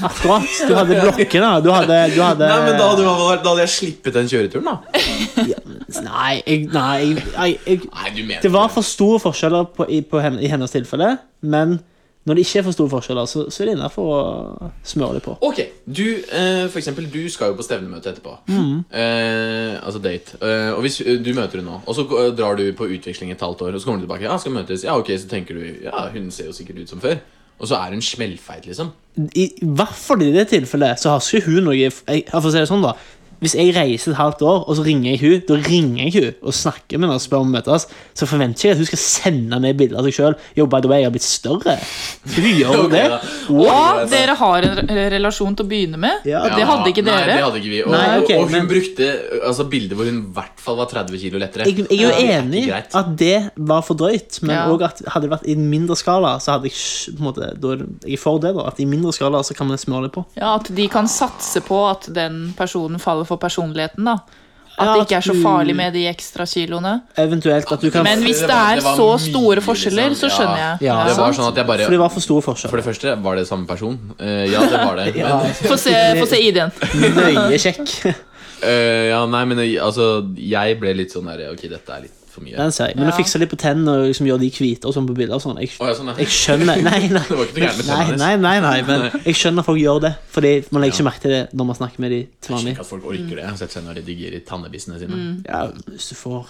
Speaker 3: Akkurat. Du hadde blokkene. Du hadde, du hadde
Speaker 1: nei, men da hadde, hun- da hadde jeg slippet den kjøreturen, da.
Speaker 3: Nei, jeg, nei, jeg, jeg, jeg
Speaker 1: Nei, du mener
Speaker 3: Det var
Speaker 1: ikke
Speaker 3: for store forskjeller på, i, på henne, i hennes tilfelle, men når det ikke er for store forskjeller, så, så er det innafor å smøre det på.
Speaker 1: Ok, du, eh, for eksempel, du skal jo på stevnemøte etterpå. Eh, altså date. Eh, og hvis eh, du møter henne nå, og så eh, drar du på utveksling et halvt år, og så kommer du tilbake, ja, skal møtes, ja, ok, så tenker du, ja, hun ser jo sikkert ut som før. Og så er hun smellfeit, liksom.
Speaker 3: I i hvert fall i det tilfellet så har ikke hun noe jeg, jeg, for å si det sånn da Hvis jeg reiser et halvt år, og så ringer jeg hun Da ringer jeg hun og snakker med henne og spør om å møtes, så forventer jeg at hun skal sende meg bilder av seg sjøl. Jo, by the way, jeg har blitt større. Hun gjør
Speaker 1: Ok,
Speaker 3: det.
Speaker 1: da.
Speaker 4: Ja,
Speaker 1: det-
Speaker 4: dere har en re- relasjon til å begynne med.
Speaker 3: Ja.
Speaker 4: og det hadde ikke
Speaker 1: Nei, det
Speaker 4: dere.
Speaker 1: hadde ikke vi. Og,
Speaker 3: Nei, ok,
Speaker 1: og- og hun
Speaker 3: men-
Speaker 1: brukte altså, bilder hvor hun i hvert fall var 30 kilo lettere.
Speaker 3: Jeg, jeg er
Speaker 1: Det
Speaker 3: jo
Speaker 1: ikke
Speaker 3: enig i
Speaker 1: greit.
Speaker 3: at det var for drøyt, men
Speaker 4: Ja.
Speaker 3: òg at hadde det vært i en mindre skala, så hadde jeg ikke- på en måte, da er jeg er for det. da At i mindre skala så kan vi smøre det på.
Speaker 4: Ja, At de kan satse på at den personen faller for personligheten. da At
Speaker 3: Ja,
Speaker 4: det ikke er så
Speaker 3: at du-
Speaker 4: farlig med de ekstra kiloene.
Speaker 3: Eventuelt at du kan
Speaker 4: Men hvis
Speaker 1: Det
Speaker 4: det
Speaker 1: var-
Speaker 4: er
Speaker 1: det var
Speaker 4: så
Speaker 1: mye,
Speaker 4: store
Speaker 1: liksom.
Speaker 4: forskjeller, så
Speaker 1: Ja.
Speaker 4: skjønner jeg.
Speaker 3: Ja.
Speaker 1: Det var sånn at jeg bare
Speaker 3: For det var for store forskjeller.
Speaker 1: For det første, var det samme person? Eh, ja, det var det.
Speaker 3: Ja.
Speaker 1: Men,
Speaker 4: Få se, få se ID-en.
Speaker 3: Nøye sjekk.
Speaker 1: eh, ja, nei, men eh, altså, jeg ble litt sånn der Ok, dette er litt for mye.
Speaker 3: Den ser jeg. Men å
Speaker 4: Ja.
Speaker 3: fikse litt på tennene og liksom gjøre de hvite og sånn på bilder og sånn jeg,
Speaker 1: Å, ja, sånn, ja.
Speaker 3: jeg skjønner Nei, nei.
Speaker 1: Det var ikke noe gærent med
Speaker 3: nei,
Speaker 1: tennene
Speaker 3: nei, nei, nei, men jeg skjønner at folk gjør det. Fordi man legger ikke merke til det når man snakker med de til
Speaker 1: Jeg
Speaker 3: vanlig.
Speaker 1: skjønner ikke at folk orker det. Sett seg ned og redigere i tannebissene sine.
Speaker 4: Mm.
Speaker 3: Ja, hvis du får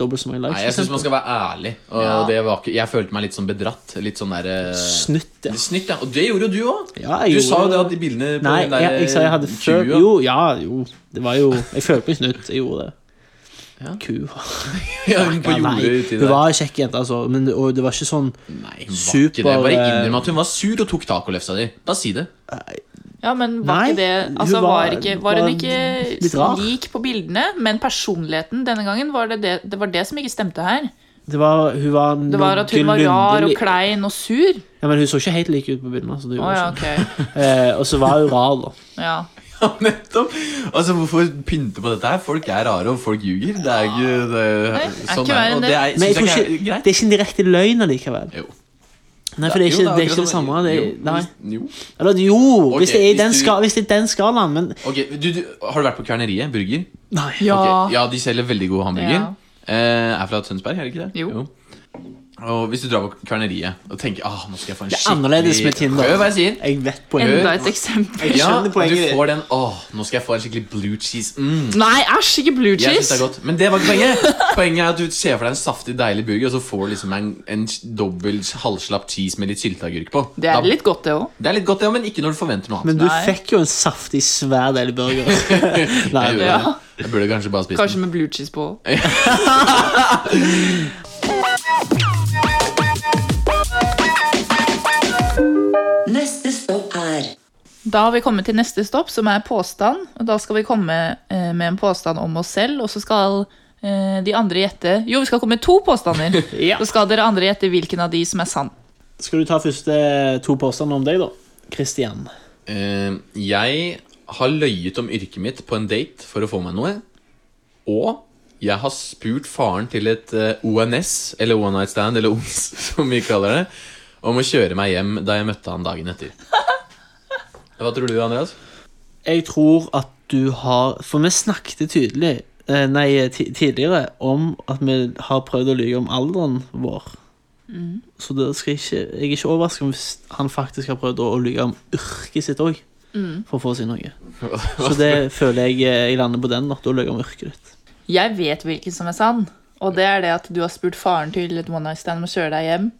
Speaker 3: dobbelt så mange
Speaker 1: Nei, Jeg
Speaker 3: likes. for
Speaker 1: syns man
Speaker 3: eksempel.
Speaker 1: skal være ærlig. Og
Speaker 4: Ja.
Speaker 1: det var ikke, jeg følte meg litt sånn bedratt. Litt sånn der eh,
Speaker 3: Snytt, ja.
Speaker 1: Snytt, ja. Og det gjorde jo du òg.
Speaker 3: Ja,
Speaker 1: du
Speaker 3: jeg
Speaker 1: sa jo
Speaker 3: gjorde
Speaker 1: det at de bildene på
Speaker 3: Nei,
Speaker 1: den der eh,
Speaker 3: jeg, jeg sa jeg hadde før
Speaker 1: tjua-
Speaker 3: Jo, ja, jo. Det var jo Jeg følte meg snytt. Jeg gjorde det.
Speaker 1: Ja.
Speaker 3: Ku.
Speaker 1: ja, på
Speaker 3: Ja, nei,
Speaker 1: jordet uti
Speaker 3: Hun
Speaker 1: der.
Speaker 3: var en kjekk jente, altså. Men det, og det var ikke sånn
Speaker 1: Nei, hun var
Speaker 3: super- eh,
Speaker 1: ikke det. Bare innrøm at hun var sur og tok tacolefsa di. Bare si det.
Speaker 4: Ja, men var
Speaker 3: Nei,
Speaker 4: ikke det altså,
Speaker 3: hun
Speaker 4: var,
Speaker 3: var-
Speaker 4: ikke, var
Speaker 3: var
Speaker 4: hun
Speaker 3: litt
Speaker 4: ikke
Speaker 3: rar.
Speaker 4: lik på bildene, men personligheten denne gangen var det det, det, var det som ikke stemte her.
Speaker 3: Det var, hun var
Speaker 4: Det var at hun var
Speaker 3: noenlunde
Speaker 4: rar og
Speaker 3: li-
Speaker 4: klein og sur.
Speaker 3: Ja, men hun så ikke helt lik ut på bildene. Så det
Speaker 4: Å
Speaker 3: gjorde
Speaker 4: ja,
Speaker 3: hun ikke.
Speaker 4: ok.
Speaker 3: Eh, og så var hun rar, da.
Speaker 4: Ja.
Speaker 1: Ja, nettopp. Altså, Hvorfor pynte på dette her? Folk er rare, og folk ljuger. Det er ikke det, er,
Speaker 4: Nei,
Speaker 1: sånn
Speaker 4: er ikke
Speaker 1: er det.
Speaker 4: verre enn
Speaker 1: Og det er,
Speaker 3: Men jeg
Speaker 1: synes jeg ikke
Speaker 3: tror ikke,
Speaker 1: er greit.
Speaker 3: det er ikke en direkte løgn allikevel.
Speaker 1: Jo.
Speaker 3: Nei, for det er
Speaker 1: Jo,
Speaker 3: ikke det, er
Speaker 1: akkurat
Speaker 3: ikke det
Speaker 1: sånn.
Speaker 3: samme. Det,
Speaker 1: Jo,
Speaker 3: nei.
Speaker 1: hvis- jo.
Speaker 3: Eller jo, hvis det er i
Speaker 1: hvis
Speaker 3: den,
Speaker 1: du-
Speaker 3: ska, hvis det er den skalaen, men
Speaker 1: Ok, du, du, Har du vært på Kverneriet? Burger?
Speaker 3: Nei.
Speaker 4: Ja.
Speaker 1: Ok, ja, de selger veldig god hamburger.
Speaker 4: Ja.
Speaker 1: Eh, er fra Tønsberg, er det ikke det?
Speaker 4: Jo.
Speaker 1: Og hvis du drar på Kverneriet og tenker ah, nå skal jeg få en
Speaker 3: Det er annerledes med Tinder.
Speaker 1: Hør hva jeg sier.
Speaker 3: Jeg vet poenget.
Speaker 4: Enda et eksempel.
Speaker 3: Jeg
Speaker 1: Ja,
Speaker 3: skjønner
Speaker 1: du
Speaker 3: poenget ditt.
Speaker 1: får den åh, nå skal jeg få en skikkelig blue cheese. Mm.
Speaker 4: Nei, æsj, ikke blue
Speaker 1: Jeg synes det er
Speaker 4: cheese!
Speaker 1: godt Men det var ikke poenget. Poenget er at du ser for deg en saftig, deilig burger, og så får du liksom en, en dobbel halvslapp cheese med litt sylteagurk på.
Speaker 4: Det
Speaker 1: Da-
Speaker 4: er litt godt, det òg.
Speaker 1: det er litt godt, ja, men ikke når du forventer noe annet.
Speaker 3: Men du
Speaker 4: Nei.
Speaker 3: fikk jo en saftig, svær deilig burger. Nei,
Speaker 1: Jeg, gjorde
Speaker 4: Ja.
Speaker 1: det. jeg burde kanskje bare spist den.
Speaker 4: Kanskje med blue cheese på.
Speaker 2: Neste stopp er
Speaker 4: Da har vi kommet til neste stopp, som er påstand. Og da skal vi komme eh, med en påstand om oss selv, og så skal eh, de andre gjette Jo, vi skal komme med to påstander.
Speaker 3: Ja.
Speaker 4: Så skal dere andre gjette hvilken av de som er sann.
Speaker 3: Skal du ta første to påstander om deg, da? Christian.
Speaker 1: Eh, jeg har løyet om yrket mitt på en date for å få meg noe. Og jeg har spurt faren til et eh, ONS, eller One Night Stand, eller ONS, som vi kaller det, om å kjøre meg hjem da jeg møtte han dagen etter. Hva tror du, Andreas?
Speaker 3: Jeg tror at du har For vi snakket tydelig eh, Nei, ti- tidligere om at vi har prøvd å lyge om alderen vår. Så det skal jeg, ikke, jeg er ikke overrasket om hvis han faktisk har prøvd å, å lyge om yrket sitt òg. For å få si noe. Så det føler jeg eh, jeg lander på den. At du løy om yrket ditt.
Speaker 4: Jeg vet hvilken som er sann, og det er det at du har spurt faren til et one night stand om å kjøre deg hjem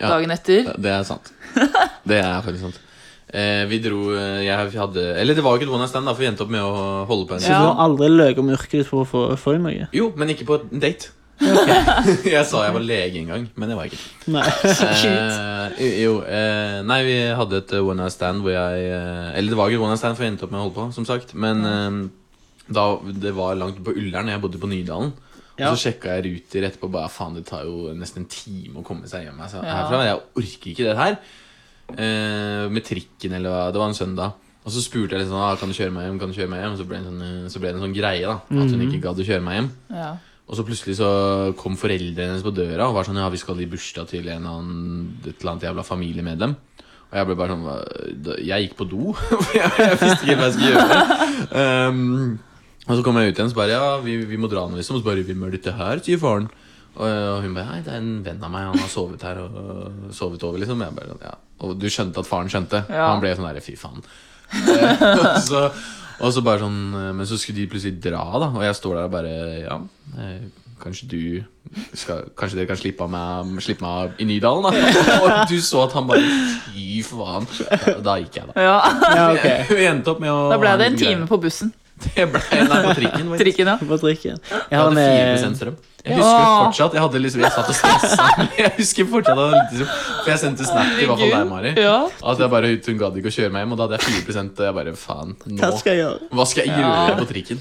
Speaker 1: Ja.
Speaker 4: dagen etter.
Speaker 1: Det er sant. Det er faktisk sant. Eh, vi dro eh, Jeg hadde Eller det var jo ikke et One Night Stand, da, for vi endte opp med å holde på en
Speaker 3: Så
Speaker 4: Ja.
Speaker 3: du har aldri løyet om yrket ditt for å få, få inn noe?
Speaker 1: Jo, men ikke på en date. Jeg sa jeg var lege en gang, men det var jeg ikke.
Speaker 3: Nei.
Speaker 1: Eh, jo, eh, nei, vi hadde et eh, one night stand hvor jeg eh, Eller det var ikke et one night stand, for jeg endte opp med å holde på, som sagt. Men eh, da det var langt på Ullern, jeg bodde på Nydalen.
Speaker 3: Ja.
Speaker 1: Og så sjekka jeg ruter etterpå. Bare, faen, Det tar jo nesten en time å komme seg hjem altså,
Speaker 4: Ja.
Speaker 1: herfra. Jeg orker ikke det her. Eh, med trikken eller hva. Det var en søndag. Og så spurte jeg litt sånn ah, Kan du kjøre meg hjem. Kan du kjøre meg hjem? Og så ble det en sånn, eh, så ble det en sånn greie, da. At hun ikke gadd å kjøre meg hjem.
Speaker 4: Ja.
Speaker 1: Og så plutselig så kom foreldrene hennes på døra og var sånn Ja, vi skal i bursdag til en eller annen, et eller annet jævla familiemedlem. Og jeg ble bare sånn «Hva?» da- Jeg gikk på do. for jeg, jeg visste ikke helt hva jeg skulle gjøre. Um, og så kom jeg ut igjen og så bare Ja, vi, vi må dra nå, liksom. Og så bare Hvem er dette her? sier faren. Og, og hun bare Nei, det er en venn av meg. Han har sovet her og og sovet over, liksom. Jeg bare, sånn, ja. Og du skjønte at faren skjønte?
Speaker 4: Ja.
Speaker 1: Han ble sånn derre Fy faen. Og så, og så bare sånn eh, Men så skulle de plutselig dra, da. Og jeg står der og bare Ja, eh, kanskje du skal, Kanskje dere kan slippe av meg, slippe meg av i Nydalen, da. Og du så at han bare Fy faen. Ja, Da gikk jeg, da.
Speaker 4: ja.
Speaker 3: Ja, ok.
Speaker 1: Vi endte opp med å
Speaker 4: Da ble
Speaker 1: ha
Speaker 4: det en
Speaker 1: liten
Speaker 4: time på bussen.
Speaker 1: greie. Det ble nei, på trikken. faktisk.
Speaker 4: Trikken, ja.
Speaker 3: På trikken. Jeg
Speaker 1: Jeg
Speaker 3: har en,
Speaker 1: hadde 4
Speaker 3: eh,
Speaker 1: strøm. Jeg husker
Speaker 4: Ja.
Speaker 1: fortsatt Jeg hadde liksom Jeg satt og stressa. Jeg husker fortsatt at jeg hadde lite strøm. For jeg sendte snap til i hvert fall deg, Mari.
Speaker 4: Ja.
Speaker 1: At jeg bare Hun gadd ikke å kjøre meg hjem, og da hadde jeg 4 og jeg bare Faen, nå
Speaker 3: hva skal jeg gjøre?
Speaker 1: Hva skal jeg gjøre på trikken?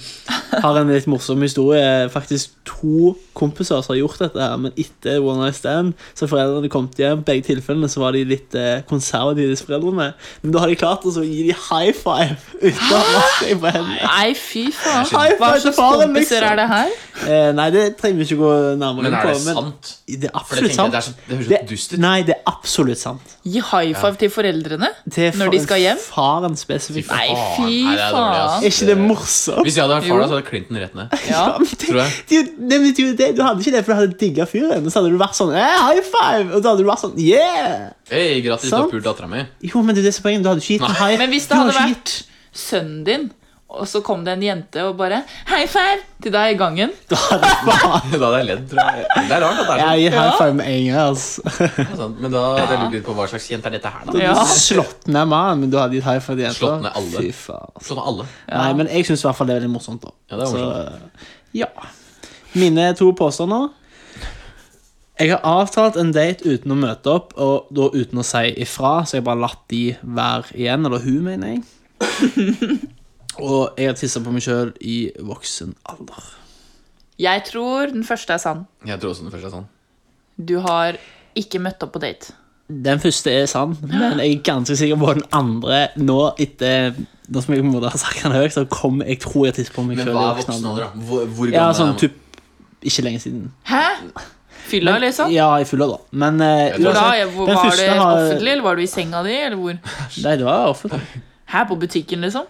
Speaker 3: har en litt morsom historie. Faktisk to kompiser som har gjort dette her, men etter One Night Stand så har foreldrene kommet hjem. Begge tilfellene så var de litt eh, konservative, disse foreldrene. Men da har de klart å så gi de high five uten å ha seg på hendene.
Speaker 4: Nei, fy faen.
Speaker 3: High
Speaker 4: Hva
Speaker 3: five til
Speaker 4: slags
Speaker 3: faren,
Speaker 4: kompiser
Speaker 3: liksom.
Speaker 4: er det her?
Speaker 3: Eh, nei, det trenger vi ikke gå nærmere
Speaker 1: Men
Speaker 3: inn
Speaker 1: er
Speaker 3: på.
Speaker 1: det sant?
Speaker 3: Men det er
Speaker 1: For det,
Speaker 3: absolutt
Speaker 1: tenker jeg,
Speaker 3: sant.
Speaker 1: det, er så, det høres jo dust ut.
Speaker 3: nei, det er absolutt sant.
Speaker 4: Gi high five til foreldrene
Speaker 3: Det er
Speaker 4: når de skal hjem?
Speaker 3: Faren spesifikt.
Speaker 4: Nei, fy
Speaker 1: Faen, nei, det er dårlig, ass.
Speaker 4: faen.
Speaker 3: Er ikke det morsomt?
Speaker 1: Hvis jeg hadde vært far,
Speaker 4: Jo.
Speaker 1: da, så hadde Clinton rett ned.
Speaker 4: Ja.
Speaker 3: Ja, men det-
Speaker 1: Tror jeg.
Speaker 3: det- det betyr jo det. Du hadde ikke det, for du hadde digga fyren. Og så hadde du vært sånn eh, high five! Og da hadde du vært sånn yeah!
Speaker 1: Hei, gratis, du har
Speaker 3: Sant.
Speaker 1: pult dattera mi.
Speaker 3: Jo, men det er det som er poenget. Du hadde ikke gitt en high
Speaker 4: Men hvis
Speaker 3: du
Speaker 4: det hadde
Speaker 3: hadde ikke
Speaker 4: vært sønnen din, og så kom det en jente og bare High five til deg i gangen.
Speaker 1: Da hadde jeg ledd, tror jeg. Det er rart at det er
Speaker 3: Jeg
Speaker 1: sånn.
Speaker 3: gir high
Speaker 4: Ja.
Speaker 3: five med en gang. Altså.
Speaker 1: det er sant. Men da hadde jeg lurt litt på hva slags jente er dette her, da.
Speaker 4: Ja.
Speaker 3: Du Slått ned mannen, men du hadde gitt high five til jenta.
Speaker 1: Slått ned alle.
Speaker 3: Fy faen.
Speaker 1: Sånn alle.
Speaker 3: Nei, Eh, men jeg syns i hvert fall det er veldig morsomt. da
Speaker 1: Ja, det er
Speaker 3: Så, ja. Mine to påstander. Jeg har avtalt en date uten å møte opp, og da uten å si ifra, så jeg har bare latt de være igjen. Eller hun, mener jeg. og jeg har tissa på meg sjøl i voksen alder.
Speaker 4: Jeg tror den første er sann.
Speaker 1: Jeg tror også den første er sånn.
Speaker 4: Du har ikke møtt opp på date.
Speaker 3: Den første er sann, men jeg er ganske sikker på den andre nå etter Nå som jeg på en måte har sagt den høyt, så kom jeg tror jeg tisser på meg
Speaker 1: Men
Speaker 3: sjøl.
Speaker 1: hva er voksen alder, da? Hvor, hvor gammel
Speaker 3: Ja,
Speaker 1: er
Speaker 3: sånn
Speaker 1: man?
Speaker 3: typ ikke lenge siden.
Speaker 4: Hæ? Fylla, liksom?
Speaker 3: Ja, i full alder. Men eh,
Speaker 1: tror
Speaker 4: Hvor da?
Speaker 3: uansett,
Speaker 4: Ja, hvor,
Speaker 3: den
Speaker 4: var
Speaker 3: første
Speaker 4: det
Speaker 3: har-
Speaker 4: offentlig, eller var du i senga di? Eller hvor?
Speaker 3: Nei, det var offentlig.
Speaker 4: Her på butikken, liksom?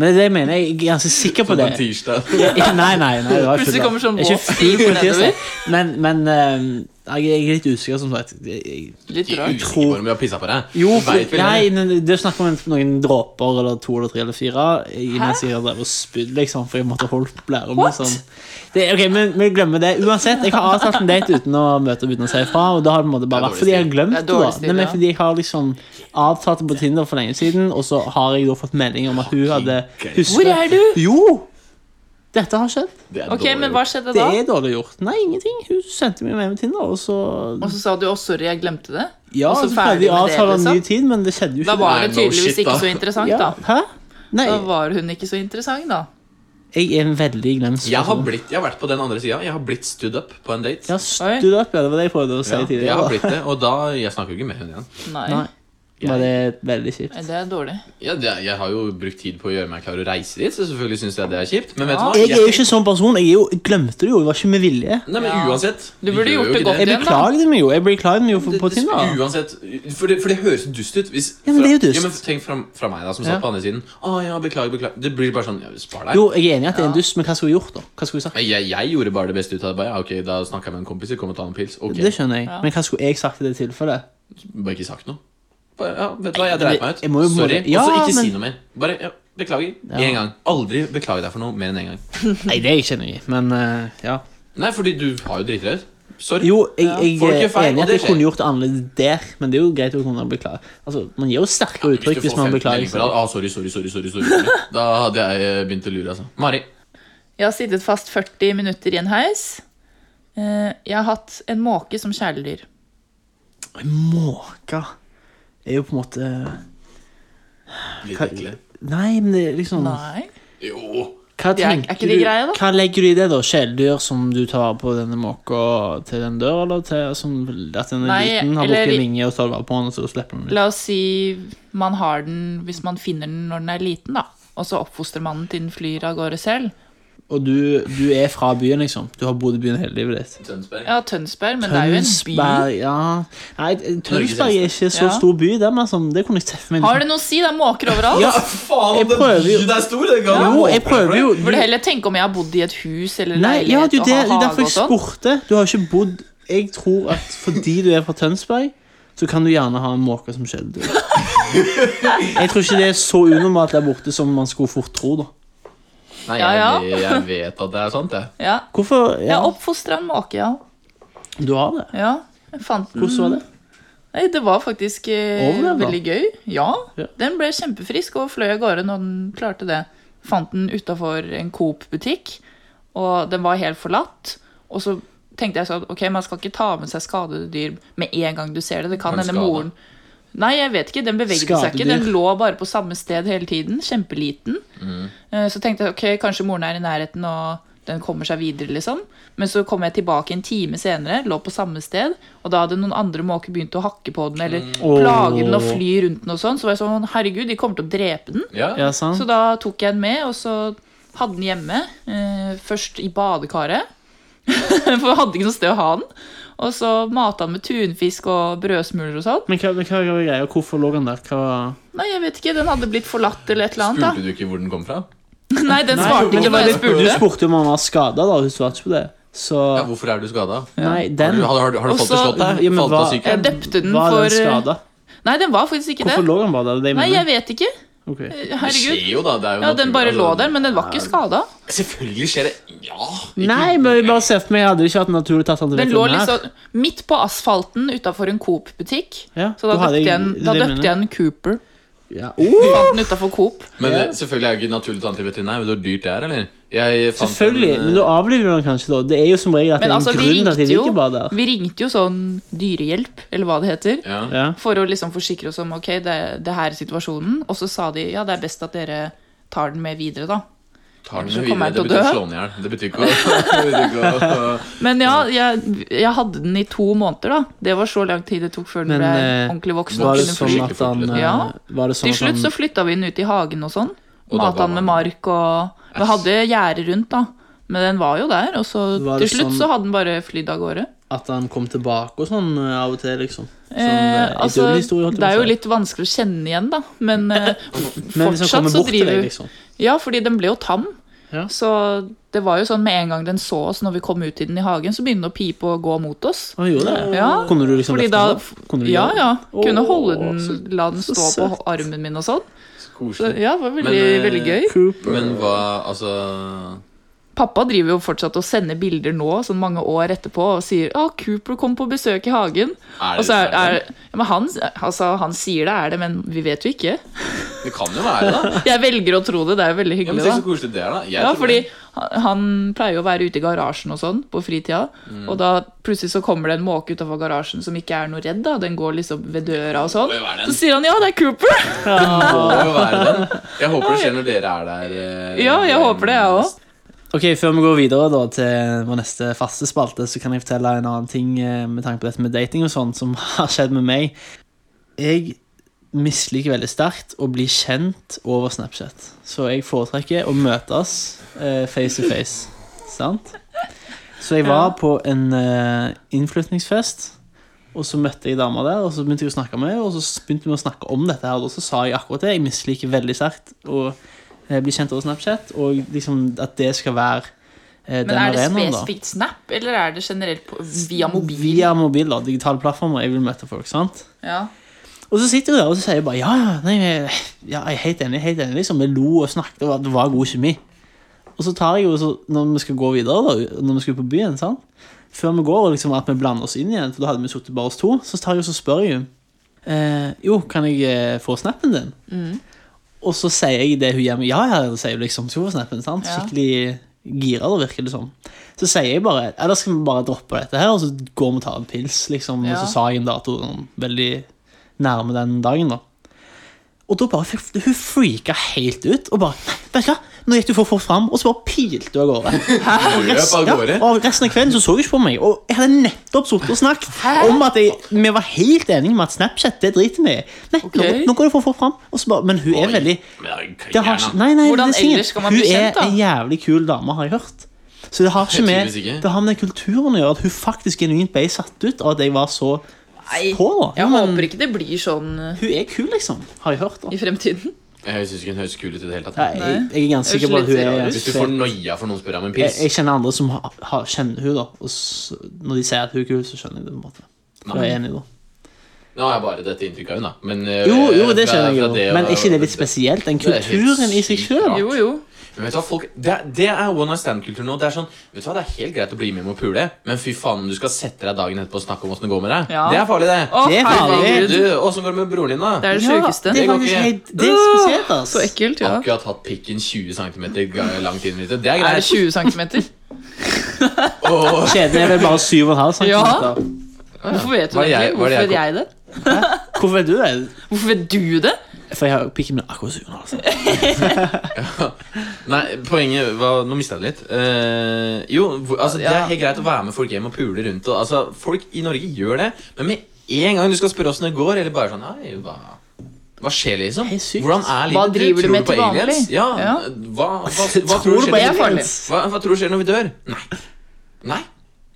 Speaker 3: Men det mener jeg, jeg er ganske sikker på
Speaker 1: Sånn på
Speaker 3: det.
Speaker 1: en tirsdag.
Speaker 3: Nei, nei, nei, det var
Speaker 4: Plutselig
Speaker 3: full alder.
Speaker 4: kommer sånn
Speaker 3: Jeg er ikke
Speaker 4: våt
Speaker 3: full på
Speaker 4: stiv nedover.
Speaker 3: tirsdag. Men, men eh, jeg jeg er litt usikker, som sagt. Jeg- jeg-
Speaker 4: Litt
Speaker 1: Ikke
Speaker 4: rart.
Speaker 1: usikker på om vi har pissa på deg.
Speaker 3: Jo,
Speaker 1: Du vet vel
Speaker 3: nei,
Speaker 1: det.
Speaker 3: nei, det er snakk om en- noen dråper eller to eller tre eller fire. Jeg- Mens jeg har drevet og spydd, liksom, for jeg måtte holde blæra mi
Speaker 4: What?
Speaker 3: sånn. Det, ok, men Vi glemmer det. Uansett, jeg har avtalt en date uten å møte opp uten å si ifra. Og da har det på en måte bare
Speaker 1: Det er
Speaker 3: vært fordi jeg har glemt
Speaker 4: Det
Speaker 3: det.
Speaker 4: er dårlig
Speaker 3: da
Speaker 4: stil,
Speaker 3: Nei, men
Speaker 4: ja.
Speaker 3: fordi jeg har liksom avtalt det på Tinder for lenge siden, og så har jeg da fått melding om at hun hadde
Speaker 1: Fucking
Speaker 3: husket
Speaker 4: Hvor er du?
Speaker 3: Jo! Dette har skjedd.
Speaker 1: Det er
Speaker 4: Ok,
Speaker 1: dårlig
Speaker 4: men
Speaker 1: gjort.
Speaker 4: hva skjedde
Speaker 3: Det
Speaker 4: da?
Speaker 3: er dårlig gjort. Nei, ingenting. Hun sendte meg med med Tinder, og så
Speaker 4: Og så sa du 'å, sorry, jeg glemte det'?
Speaker 3: Ja,
Speaker 4: og så
Speaker 3: så prøvde
Speaker 4: ferdig
Speaker 3: jeg å
Speaker 4: med det,
Speaker 3: avtale en ny
Speaker 4: liksom?
Speaker 3: tid, men det skjedde jo
Speaker 4: Da
Speaker 3: ikke.
Speaker 4: var
Speaker 1: Nei,
Speaker 4: det
Speaker 1: no
Speaker 4: tydeligvis
Speaker 1: shit,
Speaker 4: ikke
Speaker 1: da.
Speaker 4: så interessant,
Speaker 3: Ja.
Speaker 4: da.
Speaker 3: Hæ? Nei,
Speaker 4: Da var hun ikke så interessant, da.
Speaker 3: jeg er en veldig glemt
Speaker 1: Jeg har,
Speaker 3: person.
Speaker 1: blitt, jeg har vært på den andre sida. Jeg har blitt stood up på en date.
Speaker 3: Ja,
Speaker 4: Oi.
Speaker 3: stood up, ja. Det var det jeg prøvde å si
Speaker 1: Ja, jeg
Speaker 3: tidligere.
Speaker 1: har blitt det, og da Jeg snakker jo ikke med henne igjen.
Speaker 4: Nei.
Speaker 3: Nei. Var det veldig kjipt?
Speaker 4: Det er dårlig.
Speaker 1: Ja, det, jeg har jo brukt tid på å gjøre meg klar og reise dit, så selvfølgelig syns jeg det er kjipt. Men vet du
Speaker 4: Ja.
Speaker 1: hva?
Speaker 3: Jeg er jo ikke sånn person. Jeg, er jo, jeg glemte det jo. Det var ikke med vilje.
Speaker 1: Nei, men
Speaker 4: Ja.
Speaker 1: uansett
Speaker 4: Du burde
Speaker 1: gjør
Speaker 4: gjort
Speaker 1: jo
Speaker 4: det
Speaker 1: ikke
Speaker 4: godt.
Speaker 3: Jeg beklagde meg jo. Jeg beklaget meg jo for,
Speaker 1: Det,
Speaker 3: på
Speaker 1: det,
Speaker 3: Tinder.
Speaker 1: uansett, for det, for det høres jo dust ut. Hvis,
Speaker 3: Ja, men det er jo
Speaker 1: fra-
Speaker 3: dust.
Speaker 1: Ja, men tenk fra, fra meg, da, som
Speaker 3: Ja.
Speaker 1: satt på andre siden. Å ja, beklager, beklager. Det blir bare sånn ja, Spar deg.
Speaker 3: Jo, jeg er enig i at det er en dust, men hva skulle hun gjort, da? Hva skulle hun sagt?
Speaker 1: Men Jeg, jeg gjorde bare det beste ut av det. Bare, ja, ok, Da snakka jeg med en kompis. Kom og ta en pils. Ok,
Speaker 3: Det skjønner jeg. Men hva skulle jeg sagt i det tilfellet?
Speaker 1: Bare ikke sagt noe. Bare, ja, vet du hva, jeg dreit meg ut.
Speaker 3: Jeg må jo-
Speaker 1: Sorry.
Speaker 3: Ja,
Speaker 1: og så ikke
Speaker 3: men-
Speaker 1: si noe mer. Bare ja, beklager. Én gang. Aldri beklage deg for noe mer enn én gang.
Speaker 3: Nei, det er jeg ikke enig i, men eh, ja.
Speaker 1: Nei, fordi du har jo driti deg ut. Sorry.
Speaker 3: Jo, jeg,
Speaker 1: Folk
Speaker 3: jeg
Speaker 1: gjør feil,
Speaker 3: er enig i
Speaker 1: og
Speaker 3: at jeg
Speaker 1: det skjer.
Speaker 3: kunne gjort det annerledes der, men det er jo greit å kunne beklage. Altså, Man gir jo sterkere uttrykk hvis man beklager.
Speaker 1: seg. Ah, sorry, sorry, sorry, sorry, sorry, sorry. Da hadde jeg eh, begynt å lure, altså. Mari.
Speaker 4: Jeg har sittet fast 40 minutter i en heis. Eh, Jeg har hatt en måke som kjæledyr.
Speaker 3: Måka er jo på en måte
Speaker 1: Litt
Speaker 3: Hva-
Speaker 1: ekkelt.
Speaker 3: Nei, men det er liksom
Speaker 4: Nei.
Speaker 1: Jo.
Speaker 3: Hva
Speaker 4: Det er- er
Speaker 3: tenker
Speaker 4: ikke det
Speaker 3: du-
Speaker 4: greia, da?
Speaker 3: Hva legger du i det, da? Kjæledyr som du tar på denne måka til den dør, eller til som, at den er
Speaker 4: Nei,
Speaker 3: liten, har
Speaker 4: eller-
Speaker 3: brukket vinge og tar vare på den, og så slipper den ut?
Speaker 4: La oss si man har den hvis man finner den når den er liten, da. Og så oppfostrer man den til den flyr av gårde selv.
Speaker 3: Og du, du er fra byen, liksom? Du har bodd i byen hele livet ditt?
Speaker 1: Tønsberg.
Speaker 4: Ja, Tønsberg, men det er jo en by.
Speaker 3: Tønsberg, ja Nei, Tønsberg
Speaker 1: eldste.
Speaker 3: er ikke så
Speaker 4: Ja.
Speaker 3: stor by, det, men som, det kunne jeg sett for meg.
Speaker 4: Har
Speaker 3: Liksom.
Speaker 4: det noe å si? Det er måker overalt.
Speaker 1: Ja, faen,
Speaker 3: Jeg
Speaker 1: om den
Speaker 3: prøver jo-
Speaker 1: byen er stor! Det kan
Speaker 3: Jo, jeg prøver jo
Speaker 4: Burde heller tenke om jeg har bodd i et hus eller
Speaker 3: Nei, ja,
Speaker 4: leilighet
Speaker 3: det er jo det, det
Speaker 4: og
Speaker 3: er
Speaker 4: har
Speaker 3: derfor
Speaker 4: hage
Speaker 3: jeg
Speaker 4: og sånn.
Speaker 3: spurte. Du har ikke bodd Jeg tror at fordi du er fra Tønsberg, så kan du gjerne ha en måke som kjæledyr. Jeg tror ikke det er så unormalt der borte som man skulle fort tro, da.
Speaker 1: Nei,
Speaker 4: Ja, ja.
Speaker 1: jeg, jeg vet at det er sant, jeg.
Speaker 4: Ja.
Speaker 3: Hvorfor
Speaker 4: Jeg
Speaker 3: ja,
Speaker 4: har oppfostra en måke, ja.
Speaker 3: Du har det?
Speaker 4: ja. Jeg fant den.
Speaker 3: Hvordan var det?
Speaker 4: Nei, det var faktisk eh,
Speaker 3: Overlevde den?
Speaker 4: veldig gøy. Ja,
Speaker 3: Ja.
Speaker 4: Den ble kjempefrisk og fløy av gårde når den klarte det. Fant den utafor en Coop-butikk, og den var helt forlatt. Og så tenkte jeg sånn Ok, man skal ikke ta med seg skadede dyr med en gang du ser det. Det kan
Speaker 1: Var den
Speaker 4: hende
Speaker 1: skadet?
Speaker 4: moren Nei, jeg vet ikke. Den bevegde seg ikke. Den
Speaker 3: Skadedyr.
Speaker 4: lå bare på samme sted hele tiden. Kjempeliten. Eh, Så tenkte jeg ok, kanskje moren er i nærheten og den kommer seg videre. liksom. Men så kom jeg tilbake en time senere, lå på samme sted, og da hadde noen andre måker begynt å hakke på den eller plage den
Speaker 3: Mm.
Speaker 4: og
Speaker 3: Åh.
Speaker 4: fly rundt den. og sånn. Så var jeg sånn, herregud, de kommer til å drepe den.
Speaker 1: Ja.
Speaker 3: Ja, sant?
Speaker 4: Så da tok jeg den med, og så hadde den hjemme. Eh, først i badekaret, for jeg hadde ikke noe sted å ha den. Og så mata den med tunfisk og brødsmuler og sånn.
Speaker 3: Men hva, men hva var greia? Hvorfor lå han der? Hva
Speaker 4: Nei, jeg vet ikke, den hadde blitt forlatt eller et eller
Speaker 1: Spurte
Speaker 4: annet.
Speaker 1: du ikke hvor den kom fra?
Speaker 4: da. Nei, den
Speaker 3: Nei,
Speaker 4: svarte
Speaker 3: men det
Speaker 4: ikke når
Speaker 3: var
Speaker 4: jeg
Speaker 3: litt, du
Speaker 4: spurte.
Speaker 3: spurte om han var skada, da. Hun svarte ikke på det. Så
Speaker 1: Ja, hvorfor er du skada?
Speaker 3: Nei,
Speaker 1: Har,
Speaker 3: den
Speaker 1: du- har, du- har du falt og
Speaker 4: Også-
Speaker 1: slått deg?
Speaker 3: Ja, men
Speaker 1: Falt av
Speaker 3: hva-
Speaker 1: sykkelen?
Speaker 4: Jeg døpte den
Speaker 3: var
Speaker 4: for
Speaker 3: den skada.
Speaker 4: Nei, den var faktisk ikke
Speaker 3: Hvorfor
Speaker 4: det.
Speaker 3: lå han bare der? Det
Speaker 4: Nei, jeg
Speaker 3: mener jeg.
Speaker 4: vet ikke.
Speaker 3: Ok.
Speaker 1: Det
Speaker 4: Herregud.
Speaker 1: skjer jo, da. Det er jo
Speaker 4: Ja, den
Speaker 1: naturlig,
Speaker 4: bare
Speaker 1: altså.
Speaker 4: lå der, men den var ikke skada.
Speaker 1: Selvfølgelig skjer det Ja! ikke-
Speaker 3: Nei, men jeg bare ser for meg jeg hadde ikke hatt naturlig tatt han til
Speaker 4: Den lå
Speaker 3: veterinær.
Speaker 4: liksom midt på asfalten utafor en Coop-butikk.
Speaker 3: Ja,
Speaker 4: Så da
Speaker 3: da hadde
Speaker 4: døpte jeg
Speaker 3: jeg-
Speaker 4: den,
Speaker 3: det
Speaker 4: da
Speaker 3: er det jeg
Speaker 4: døpte jeg den Cooper.
Speaker 3: Ja. Oh!
Speaker 4: Fant den utenfor Coop.
Speaker 1: Men eh, selvfølgelig er det ikke naturlig å ta den til veterinær. Vet du hvor dyrt det er, eller? Jeg fant
Speaker 3: Selvfølgelig,
Speaker 1: en, eh,
Speaker 3: men da avliver du den kanskje, da. Det er jo som regel at det
Speaker 4: Men
Speaker 3: er en
Speaker 4: altså, vi
Speaker 3: grunn til at de
Speaker 4: ringte jo,
Speaker 3: ligger bare der.
Speaker 4: vi ringte jo sånn dyrehjelp, eller hva det heter.
Speaker 1: ja.
Speaker 3: Ja.
Speaker 4: For å liksom forsikre oss om ok, det, det her er situasjonen. Og så sa de ja, det er best at dere tar den med videre, da.
Speaker 1: Tar den
Speaker 4: Så
Speaker 1: med
Speaker 4: kommer
Speaker 1: videre. Det
Speaker 4: han til å
Speaker 1: betyr
Speaker 4: dø.
Speaker 1: slå den i hjel. Det betyr ikke å det betyr ikke å-
Speaker 4: Men ja, jeg, jeg hadde den i to måneder, da. Det var så lang tid det tok før
Speaker 3: Men,
Speaker 4: den ble
Speaker 3: eh,
Speaker 4: ordentlig voksen. og
Speaker 3: Var det
Speaker 4: kunne
Speaker 3: sånn
Speaker 4: fly.
Speaker 3: at han eh,
Speaker 4: Ja.
Speaker 3: Var det sånn
Speaker 4: Til slutt
Speaker 3: at
Speaker 4: så
Speaker 3: han
Speaker 4: flytta vi den ut i hagen og sånn.
Speaker 1: Og da
Speaker 4: Mata
Speaker 1: var
Speaker 4: den med
Speaker 1: den-
Speaker 4: mark og Vi hadde gjerde rundt, da. Men den var jo der. Og så
Speaker 3: Var
Speaker 4: til
Speaker 3: det
Speaker 4: slutt
Speaker 3: sånn-
Speaker 4: så hadde den bare flydd av gårde.
Speaker 3: At han kom tilbake og sånn eh, av og til, liksom? Sånn
Speaker 4: Eh,
Speaker 3: eh,
Speaker 4: altså,
Speaker 3: idyllehistorie, holdt jeg
Speaker 4: det
Speaker 3: på å
Speaker 4: er jo
Speaker 3: si.
Speaker 4: litt vanskelig å kjenne igjen, da. Men eh,
Speaker 3: Men hvis han
Speaker 4: fortsatt
Speaker 3: kommer
Speaker 4: så
Speaker 3: bort til
Speaker 4: driver
Speaker 3: deg,
Speaker 4: vi
Speaker 3: liksom.
Speaker 4: Ja, fordi den ble jo tam.
Speaker 3: Ja.
Speaker 4: Så det var jo sånn med en gang den så oss når vi kom ut i den i hagen, så begynte den å pipe og gå mot oss.
Speaker 3: Han gjorde det?
Speaker 4: Ja,
Speaker 3: Kunne du liksom
Speaker 4: Fordi
Speaker 3: løfte
Speaker 4: da
Speaker 3: han opp? Kunne du
Speaker 4: Ja,
Speaker 3: gjøre det?
Speaker 4: ja. Kunne
Speaker 3: Åh,
Speaker 4: holde den,
Speaker 3: så-
Speaker 4: la den
Speaker 3: så
Speaker 4: stå på
Speaker 3: søtt.
Speaker 4: armen min og sånn. Så,
Speaker 1: Koselig.
Speaker 4: ja, det var veldig,
Speaker 1: Men, eh,
Speaker 4: veldig gøy.
Speaker 3: Cooper.
Speaker 1: Men hva Altså
Speaker 4: Pappa driver jo fortsatt og sender bilder nå, sånn mange år etterpå, og sier «Å, Cooper kom på besøk i hagen».
Speaker 1: er
Speaker 4: Og
Speaker 1: det,
Speaker 4: så er, er ja, men han, altså, han sier det er det, men vi vet jo ikke.
Speaker 1: det kan jo være det, da.
Speaker 4: Jeg velger å tro det, det er jo veldig
Speaker 1: Ja, men
Speaker 4: hyggelig,
Speaker 1: Tenk så
Speaker 4: da.
Speaker 1: koselig det er, da. Jeg
Speaker 4: Ja,
Speaker 1: tror
Speaker 4: fordi
Speaker 1: det.
Speaker 4: han han pleier jo å være ute i garasjen og sånn på fritida,
Speaker 1: Mm.
Speaker 4: og da plutselig så kommer det en måke utafor garasjen som ikke er noe redd, da. Den går liksom ved døra og sånn.
Speaker 1: Det må jo være den.
Speaker 4: Så sier han ja, det er Cooper!
Speaker 1: Det må jo være den. Jeg håper det skjer når dere er der. eh,
Speaker 4: Ja, jeg håper det, jeg òg.
Speaker 3: Ok, Før vi går videre da til vår neste faste spalte, så kan jeg fortelle en annen ting eh, med tanke på dette med dating og sånn, som har skjedd med meg. Jeg misliker veldig sterkt å bli kjent over Snapchat. Så jeg foretrekker å møtes eh, face to face. Sant? Så jeg var på en eh, innflytningsfest, og så møtte jeg dama der, og så begynte jeg å snakke med henne, og så begynte vi å snakke om dette her, og så sa jeg akkurat det. Jeg misliker veldig sterkt å eh, bli kjent over Snapchat, og liksom at det skal være eh,
Speaker 4: Men
Speaker 3: den
Speaker 4: er det
Speaker 3: arenaen, da.
Speaker 4: spesifikt Snap, eller er det generelt på, via mobil?
Speaker 3: Via mobil, da. Digitale plattformer. Jeg vil møte folk, sant?
Speaker 4: Ja.
Speaker 3: Og så sitter jeg der og så sier jeg bare ja, ja, nei, jeg- ja, jeg er helt enig. helt enig liksom, Vi lo og snakket, og det var god kjemi. Og så tar jeg jo, så, når vi skal gå videre, da, når vi skal på byen sant? Før vi går, og liksom at vi blander oss inn igjen, for da hadde vi sittet bare oss to, så tar jeg og så spør jeg henne eh, Jo, kan jeg eh, få snappen din? Og så sier jeg det hun gjør meg. Ja, ja, ja», sier hun liksom. Så hun får snappen. sant?
Speaker 4: Ja.
Speaker 3: Skikkelig gira, da, virker det som. Så sier jeg bare Eller skal vi bare droppe dette her, og så går vi og tar en pils, liksom.
Speaker 4: Ja.
Speaker 3: Og så sa jeg en dato sånn, veldig nærme den dagen, da. Og da bare fikk, Hun freaka helt ut og bare «Nei, Vet du hva, nå gikk du for fort fram, og så bare pilte hun av gårde. Og
Speaker 1: Løp av gårde.
Speaker 3: ja, og resten av kvelden så så hun ikke på meg, og jeg hadde nettopp sittet og snakket om at jeg, vi var helt enige om at Snapchat, det driter vi i. Nei, nå,
Speaker 4: Ok.
Speaker 3: nå går det for fort fram. Og så bare, men hun er veldig det har, ikke- nei, nei,
Speaker 4: Hvordan
Speaker 3: det er sikkert.
Speaker 4: ellers skal man bli kjent, da?
Speaker 3: Hun er en jævlig kul dame, har jeg hørt. Så det har ikke med,
Speaker 1: Tydeligvis ikke.
Speaker 3: det har med kulturen å gjøre, at hun faktisk genuint ble satt ut av at jeg var så
Speaker 4: Nei,
Speaker 3: på. da.
Speaker 4: jeg
Speaker 3: Jo, men
Speaker 4: håper ikke det blir sånn eh,
Speaker 3: Hun er kul, liksom, har jeg hørt. da.
Speaker 4: i fremtiden.
Speaker 1: Jeg syns ikke hun høres kul ut i det hele
Speaker 3: Nei,
Speaker 1: tatt.
Speaker 3: jeg, jeg er ganske sikker på at hun er
Speaker 1: Hvis du får noia for noen spør om en
Speaker 3: jeg,
Speaker 1: pils
Speaker 3: jeg kjenner andre som har, har, kjenner hun da og s- Når de sier at hun er kul, så skjønner jeg det. på en måte For jeg er enig da
Speaker 1: Nå har jeg bare dette inntrykket av henne, da. Men, eh,
Speaker 3: Jo, jo, det skjønner jeg jo Men er ikke det litt spesielt? Den
Speaker 1: er helt
Speaker 3: kulturen i seg
Speaker 1: sykt
Speaker 3: selv
Speaker 1: rart.
Speaker 4: Jo, jo.
Speaker 1: Men vet du hva, folk, det, er- det er one night stand-kultur nå. Det er sånn, vet du hva, det er helt greit å bli med med å pule, men fy faen om du skal sette deg dagen etterpå og snakke om åssen det går med deg.
Speaker 4: Ja.
Speaker 1: Det er farlig, det.
Speaker 4: Å,
Speaker 3: Det er farlig.
Speaker 4: herregud.
Speaker 1: Du, Åssen går det med broren din, da?
Speaker 4: Det er det
Speaker 3: Ja,
Speaker 4: sjukeste.
Speaker 3: Det
Speaker 1: Det
Speaker 3: er
Speaker 1: går
Speaker 3: faktisk
Speaker 1: ikke.
Speaker 3: helt Det er spesielt, ass
Speaker 4: Så ekkelt, ja.
Speaker 1: Akkurat hatt pikken 20 cm langt inn i det. Det er
Speaker 4: Er det
Speaker 1: greit.
Speaker 4: 20 cm?
Speaker 1: Åh,
Speaker 3: Kjeden er vel bare 7,5 cm
Speaker 4: Ja. Hvorfor vet du
Speaker 1: Var det jeg-
Speaker 4: det
Speaker 1: var
Speaker 4: egentlig? Hvorfor
Speaker 1: det jeg
Speaker 4: vet jeg det?
Speaker 3: Hvorfor vet du det?
Speaker 4: Hvorfor vet du det?
Speaker 3: For jeg har pikken min akkurat altså. 7,5 cm
Speaker 1: Nei, poenget var Nå mista jeg det litt. Eh, jo, hvor- altså, det er
Speaker 4: Ja.
Speaker 1: helt greit å være med folk hjem og pule rundt. Og, altså, folk i Norge gjør det, men med en gang du skal spørre åssen det går, eller bare sånn Hei, hva, hva skjer, liksom?
Speaker 3: Helt sykt.
Speaker 1: Hvordan er livet?
Speaker 4: Hva
Speaker 1: ditt?
Speaker 4: driver du
Speaker 1: Tror
Speaker 4: med til
Speaker 1: på aliens?
Speaker 4: vanlig?
Speaker 1: Ja,
Speaker 4: Ja.
Speaker 1: Hva, hva, hva tror du
Speaker 4: på
Speaker 1: skjer?
Speaker 4: aliens?
Speaker 1: Hva, hva tror du skjer når vi dør? Nei. Nei.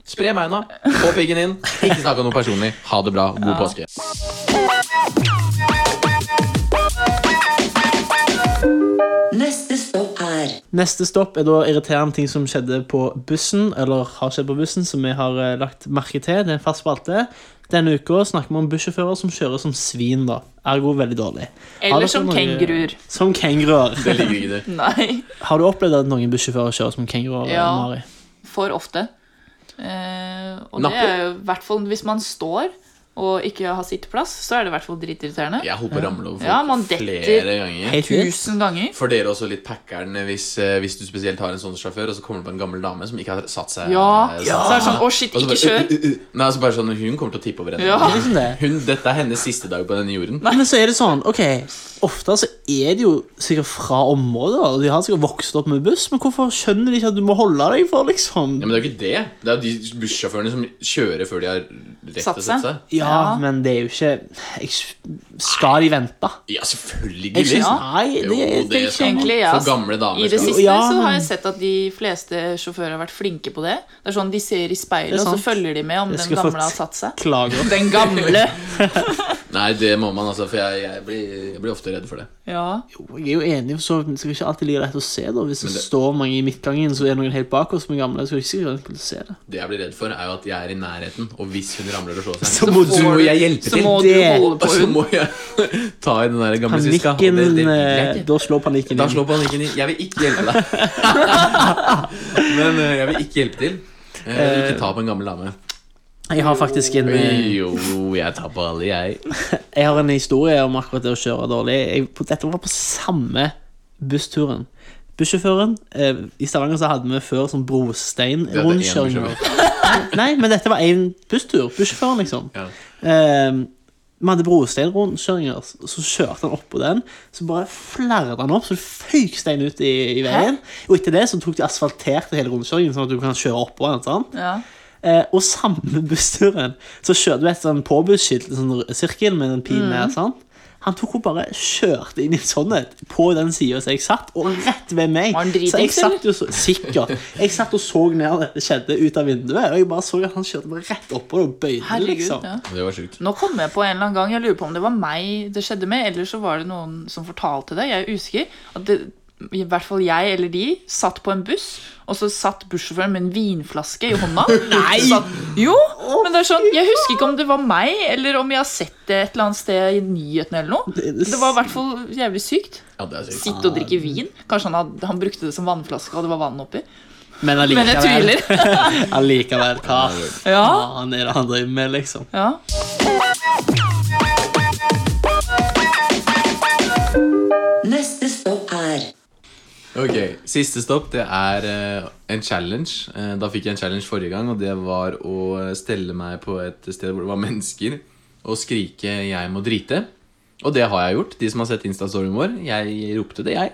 Speaker 1: Spre beina. Få piggen inn. Ikke snakk om noe personlig. Ha det bra. God påske.
Speaker 2: Neste stopp er
Speaker 3: Neste stopp er da irriterende ting som skjedde på bussen Eller har skjedd på bussen Som vi har eh, lagt merke til Det er en fast spalte Denne uka snakker vi om bussjåfører som kjører som svin da Ergo veldig dårlig Har
Speaker 4: Eller
Speaker 3: dere
Speaker 4: som
Speaker 3: noe-
Speaker 4: kenguruer.
Speaker 3: Som kenguruer
Speaker 1: Det ligger ikke der.
Speaker 4: Nei.
Speaker 3: Har du opplevd at noen bussjåfører kjører som kenguruer? eh,
Speaker 4: Ja.
Speaker 3: Mari?
Speaker 4: For ofte. Eh, og det
Speaker 1: Napper?
Speaker 4: er jo i hvert fall hvis man står og ikke har sitteplass, så er det i hvert fall dritirriterende.
Speaker 1: Jeg holdt på å ramle over folk
Speaker 4: Ja, man detter.
Speaker 1: flere ganger.
Speaker 3: Helt vilt.
Speaker 4: Tusen ganger.
Speaker 1: For dere også litt packeren hvis, eh, hvis du spesielt har en sånn sjåfør, og så kommer det på en gammel dame som ikke har satt seg
Speaker 4: Ja.
Speaker 1: eh, satt
Speaker 4: Så er det
Speaker 1: seg.
Speaker 4: sånn Å, shit,
Speaker 1: Og så
Speaker 4: ikke
Speaker 1: bare,
Speaker 4: kjør.
Speaker 1: uh, uh, uh. Nei, så bare sånn, Hun kommer til å tippe over henne.
Speaker 4: Ja.
Speaker 3: Det er liksom det
Speaker 1: Hun, dette er hennes siste dag på denne jorden.
Speaker 3: Men så er det sånn, ok Ofte så er det jo sikkert fra området Og de har sikkert vokst opp med buss Men hvorfor skjønner de ikke at du må holde deg for liksom
Speaker 1: Ja, men det er jo ikke det. Det er jo de bussjåførene som kjører før de har rett til å
Speaker 4: Satt
Speaker 1: sette
Speaker 4: seg.
Speaker 1: seg.
Speaker 3: Ja,
Speaker 4: Ja.
Speaker 3: men det er jo ikke jeg, Skal de vente?
Speaker 1: Ja,
Speaker 3: Jeg
Speaker 1: selvfølgelig.
Speaker 3: synes,
Speaker 1: Ja.
Speaker 3: nei, det, det,
Speaker 1: Jo,
Speaker 3: er
Speaker 1: det
Speaker 3: ikke
Speaker 1: skal man.
Speaker 4: Egentlig, ja.
Speaker 1: For gamle damer
Speaker 4: I det
Speaker 1: skal
Speaker 4: siste
Speaker 3: Ja,
Speaker 4: så har
Speaker 3: men-
Speaker 4: jeg sett at de fleste sjåfører har vært flinke på det. Det er sånn De ser i
Speaker 3: Det
Speaker 4: speilet,
Speaker 3: er
Speaker 4: og
Speaker 3: sant.
Speaker 4: så følger de med om
Speaker 3: Jeg
Speaker 4: den
Speaker 3: skulle
Speaker 4: gamle
Speaker 3: fått-
Speaker 4: har satt seg.
Speaker 3: Klager
Speaker 4: Den gamle!
Speaker 1: Nei, det må man, altså. For jeg, jeg, blir, jeg blir ofte redd for det.
Speaker 4: Ja.
Speaker 3: Jo, Jeg er jo enig, for så vidt, men det skal ikke alltid ligge lett å se da Hvis det,
Speaker 1: Men det-
Speaker 3: står mange i midtgangen Så er noen helt bak oss med gamle Så er det ikke sikkert lett å se det
Speaker 1: Det jeg blir redd for, er jo at jeg er i nærheten, og hvis hun ramler og slår seg,
Speaker 3: Så må
Speaker 4: får du-
Speaker 1: jeg hjelpe
Speaker 4: så
Speaker 1: til.
Speaker 4: må du
Speaker 3: Det-
Speaker 4: holde
Speaker 1: Og
Speaker 4: på
Speaker 1: så
Speaker 4: hun.
Speaker 1: må jeg ta i den der gamle siska. og det-
Speaker 3: Panikken,
Speaker 1: det liker jeg
Speaker 3: eh,
Speaker 1: ikke.
Speaker 3: da slår panikken
Speaker 1: Da
Speaker 3: inn.
Speaker 1: slår panikken inn. Jeg vil ikke hjelpe deg. Men eh, jeg vil ikke hjelpe til. Eh, ikke ta på en gammel dame.
Speaker 3: Jeg har faktisk en eh,
Speaker 1: Jo, jeg tar på alle, jeg.
Speaker 3: Jeg har en historie om akkurat det å kjøre dårlig. Jeg, på- dette var på samme bussturen. Bussjåføren eh, I Stavanger så hadde vi før sånn
Speaker 1: Dette er en
Speaker 3: brosteinrundkjøringer. Nei, men dette var én busstur. Bussjåføren, liksom.
Speaker 1: Ja.
Speaker 3: Eh, vi hadde brosteinrundkjøringer, så- så kjørte han oppå den. Så bare flerret han opp, så det føyk stein ut i, i veien. Og etter det så tok de asfalterte hele rundkjøringen, sånn at du kan kjøre oppå den. sant?
Speaker 4: Ja.
Speaker 3: Eh, og samme bussturen så kjørte du et sånn påbudsskilt, en sånn r- sirkel med en pil
Speaker 4: Mm.
Speaker 3: ned. sant? Han tok og bare kjørte inn i en sånn et på den sida som jeg satt, og rett ved meg.
Speaker 4: Var han dritings,
Speaker 3: Så jeg satt jo så, sikkert. Jeg satt og så ned at dette skjedde ut av vinduet, og jeg bare så at han kjørte bare rett oppå det og bøyde.
Speaker 4: Herregud.
Speaker 3: liksom.
Speaker 4: Ja.
Speaker 1: Det var sjukt.
Speaker 4: Nå kom jeg på en eller annen gang, jeg lurer på om det var meg det skjedde med, eller så var det noen som fortalte det, jeg er usikker. At det, i hvert fall jeg eller de satt på en buss, og så satt bussjåføren med en vinflaske i hånda. Nei! Satt, jo, men det er sånn, jeg husker ikke om det var meg, eller om jeg har sett det et eller annet sted i nyhetene eller noe. Det var i hvert fall jævlig sykt.
Speaker 1: Ja, det er sykt.
Speaker 4: Sitte og drikke vin. Kanskje han, hadde, han brukte det som vannflaske, og det var vann oppi.
Speaker 3: Men
Speaker 4: Men jeg
Speaker 3: allikevel.
Speaker 4: tviler.
Speaker 3: Allikevel, hva
Speaker 4: Ja,
Speaker 3: faen er det han driver med, liksom?
Speaker 4: ja.
Speaker 2: Neste stopp er
Speaker 1: Ok, Siste stopp det er eh, en challenge. Eh, da fikk jeg en challenge forrige gang, og det var å stelle meg på et sted hvor det var mennesker, og skrike 'jeg må drite'. Og det har jeg gjort. De som har sett Insta-storyen vår, jeg ropte det, jeg.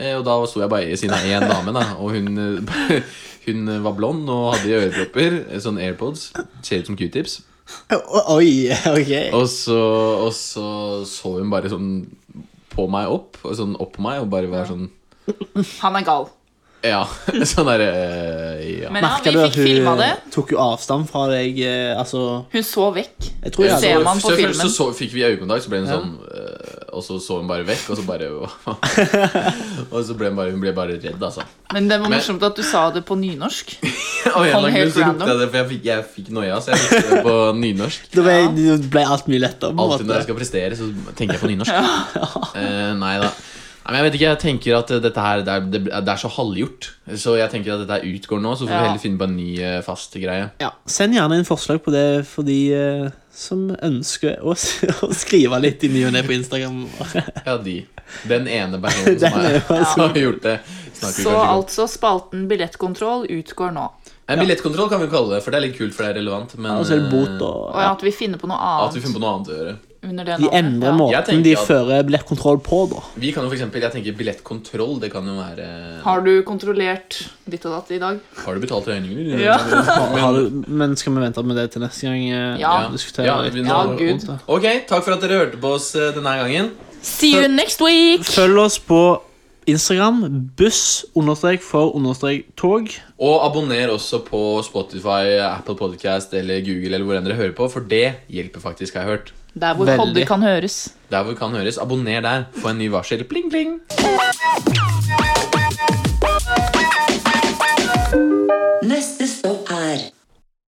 Speaker 1: Eh, og da sto jeg bare ved siden av én dame, da, og hun, eh, hun var blond og hadde ørepropper, eh, sånn AirPods, ser ut som q-tips.
Speaker 3: Oi, ok.
Speaker 1: Og så, og så så hun bare sånn på meg opp, og sånn opp på meg, og bare var sånn
Speaker 4: Han er gal.
Speaker 1: Ja. Sånn derre ja.
Speaker 4: Men ja,
Speaker 3: Merka
Speaker 4: vi
Speaker 3: du at
Speaker 4: fikk filma det.
Speaker 3: hun tok jo avstand fra deg? eh, Altså
Speaker 4: Hun så vekk.
Speaker 3: Jeg tror jeg
Speaker 4: ser
Speaker 3: hadde
Speaker 4: man på
Speaker 1: så
Speaker 4: filmen.
Speaker 1: Først så, så fikk vi øyekontakt, så ble hun sånn øh, Og så så hun bare vekk, og så bare Og så ble hun bare, hun ble bare redd, altså.
Speaker 4: Men det var
Speaker 1: Men-
Speaker 4: morsomt at du sa det på nynorsk.
Speaker 1: Og en
Speaker 4: Kom
Speaker 1: eller annen grunn
Speaker 4: helt
Speaker 1: så ropte
Speaker 4: random.
Speaker 1: jeg det, for jeg fikk, jeg fikk noia, så jeg ropte det på nynorsk.
Speaker 3: Da ble,
Speaker 4: Ja.
Speaker 3: det ble alt mye lettere. på en
Speaker 1: Alltid når jeg
Speaker 3: måte.
Speaker 1: skal prestere, så tenker jeg på nynorsk. Eh, nei da. Nei, men jeg vet ikke, jeg tenker at eh, dette her, det er, det er- det er så halvgjort. Så jeg tenker at dette her utgår nå, så får vi
Speaker 4: Ja.
Speaker 1: heller finne på en ny eh, fast greie.
Speaker 3: Ja, Send gjerne inn forslag på det for de eh, som ønsker å, s- å skrive litt i ny og ne på Instagram.
Speaker 1: Ja, de. Den ene personen som,
Speaker 3: Den
Speaker 1: er,
Speaker 3: ene
Speaker 1: som har gjort det. snakker vi kanskje
Speaker 4: Så
Speaker 1: ikke om.
Speaker 4: altså spalten billettkontroll utgår nå.
Speaker 1: Nei, Billettkontroll kan vi kalle det, for det er litt kult, for det er relevant. Men
Speaker 3: Og så er det bot
Speaker 1: eh,
Speaker 3: og
Speaker 4: Og
Speaker 3: ja.
Speaker 4: at vi finner på noe
Speaker 1: at vi
Speaker 4: annet
Speaker 1: finner på noe annet å gjøre.
Speaker 4: under det
Speaker 3: De
Speaker 4: navnet.
Speaker 3: endrer
Speaker 4: Ja.
Speaker 1: Jeg
Speaker 3: måten
Speaker 1: tenker
Speaker 3: de
Speaker 1: at-
Speaker 3: fører billettkontroll på, da.
Speaker 1: Vi kan jo for eksempel, Jeg tenker billettkontroll, det kan jo være Har,
Speaker 4: Har du kontrollert ditt og datt i dag?
Speaker 1: du betalt regningen, eller?
Speaker 4: Ja.
Speaker 3: Har, har du, men skal vi vente med det til neste gang? eh,
Speaker 4: Ja.
Speaker 3: Diskutere
Speaker 1: Ja,
Speaker 3: litt
Speaker 1: vi-
Speaker 4: Ja,
Speaker 1: nå-
Speaker 4: gud.
Speaker 3: rundt det?
Speaker 1: Ok, takk for at dere hørte på oss eh, denne gangen.
Speaker 4: See you next week!
Speaker 3: Følg oss på Instagram. Buss understrek for understrek tog.
Speaker 1: Og abonner også på Spotify, Apple Podcast eller Google, eller hvor enn dere hører på, for det hjelper faktisk, har jeg hørt.
Speaker 4: Der hvor
Speaker 3: Veldig.
Speaker 4: podder kan høres.
Speaker 1: Der hvor vi kan høres, abonner der. Få en ny varsel. Pling, pling.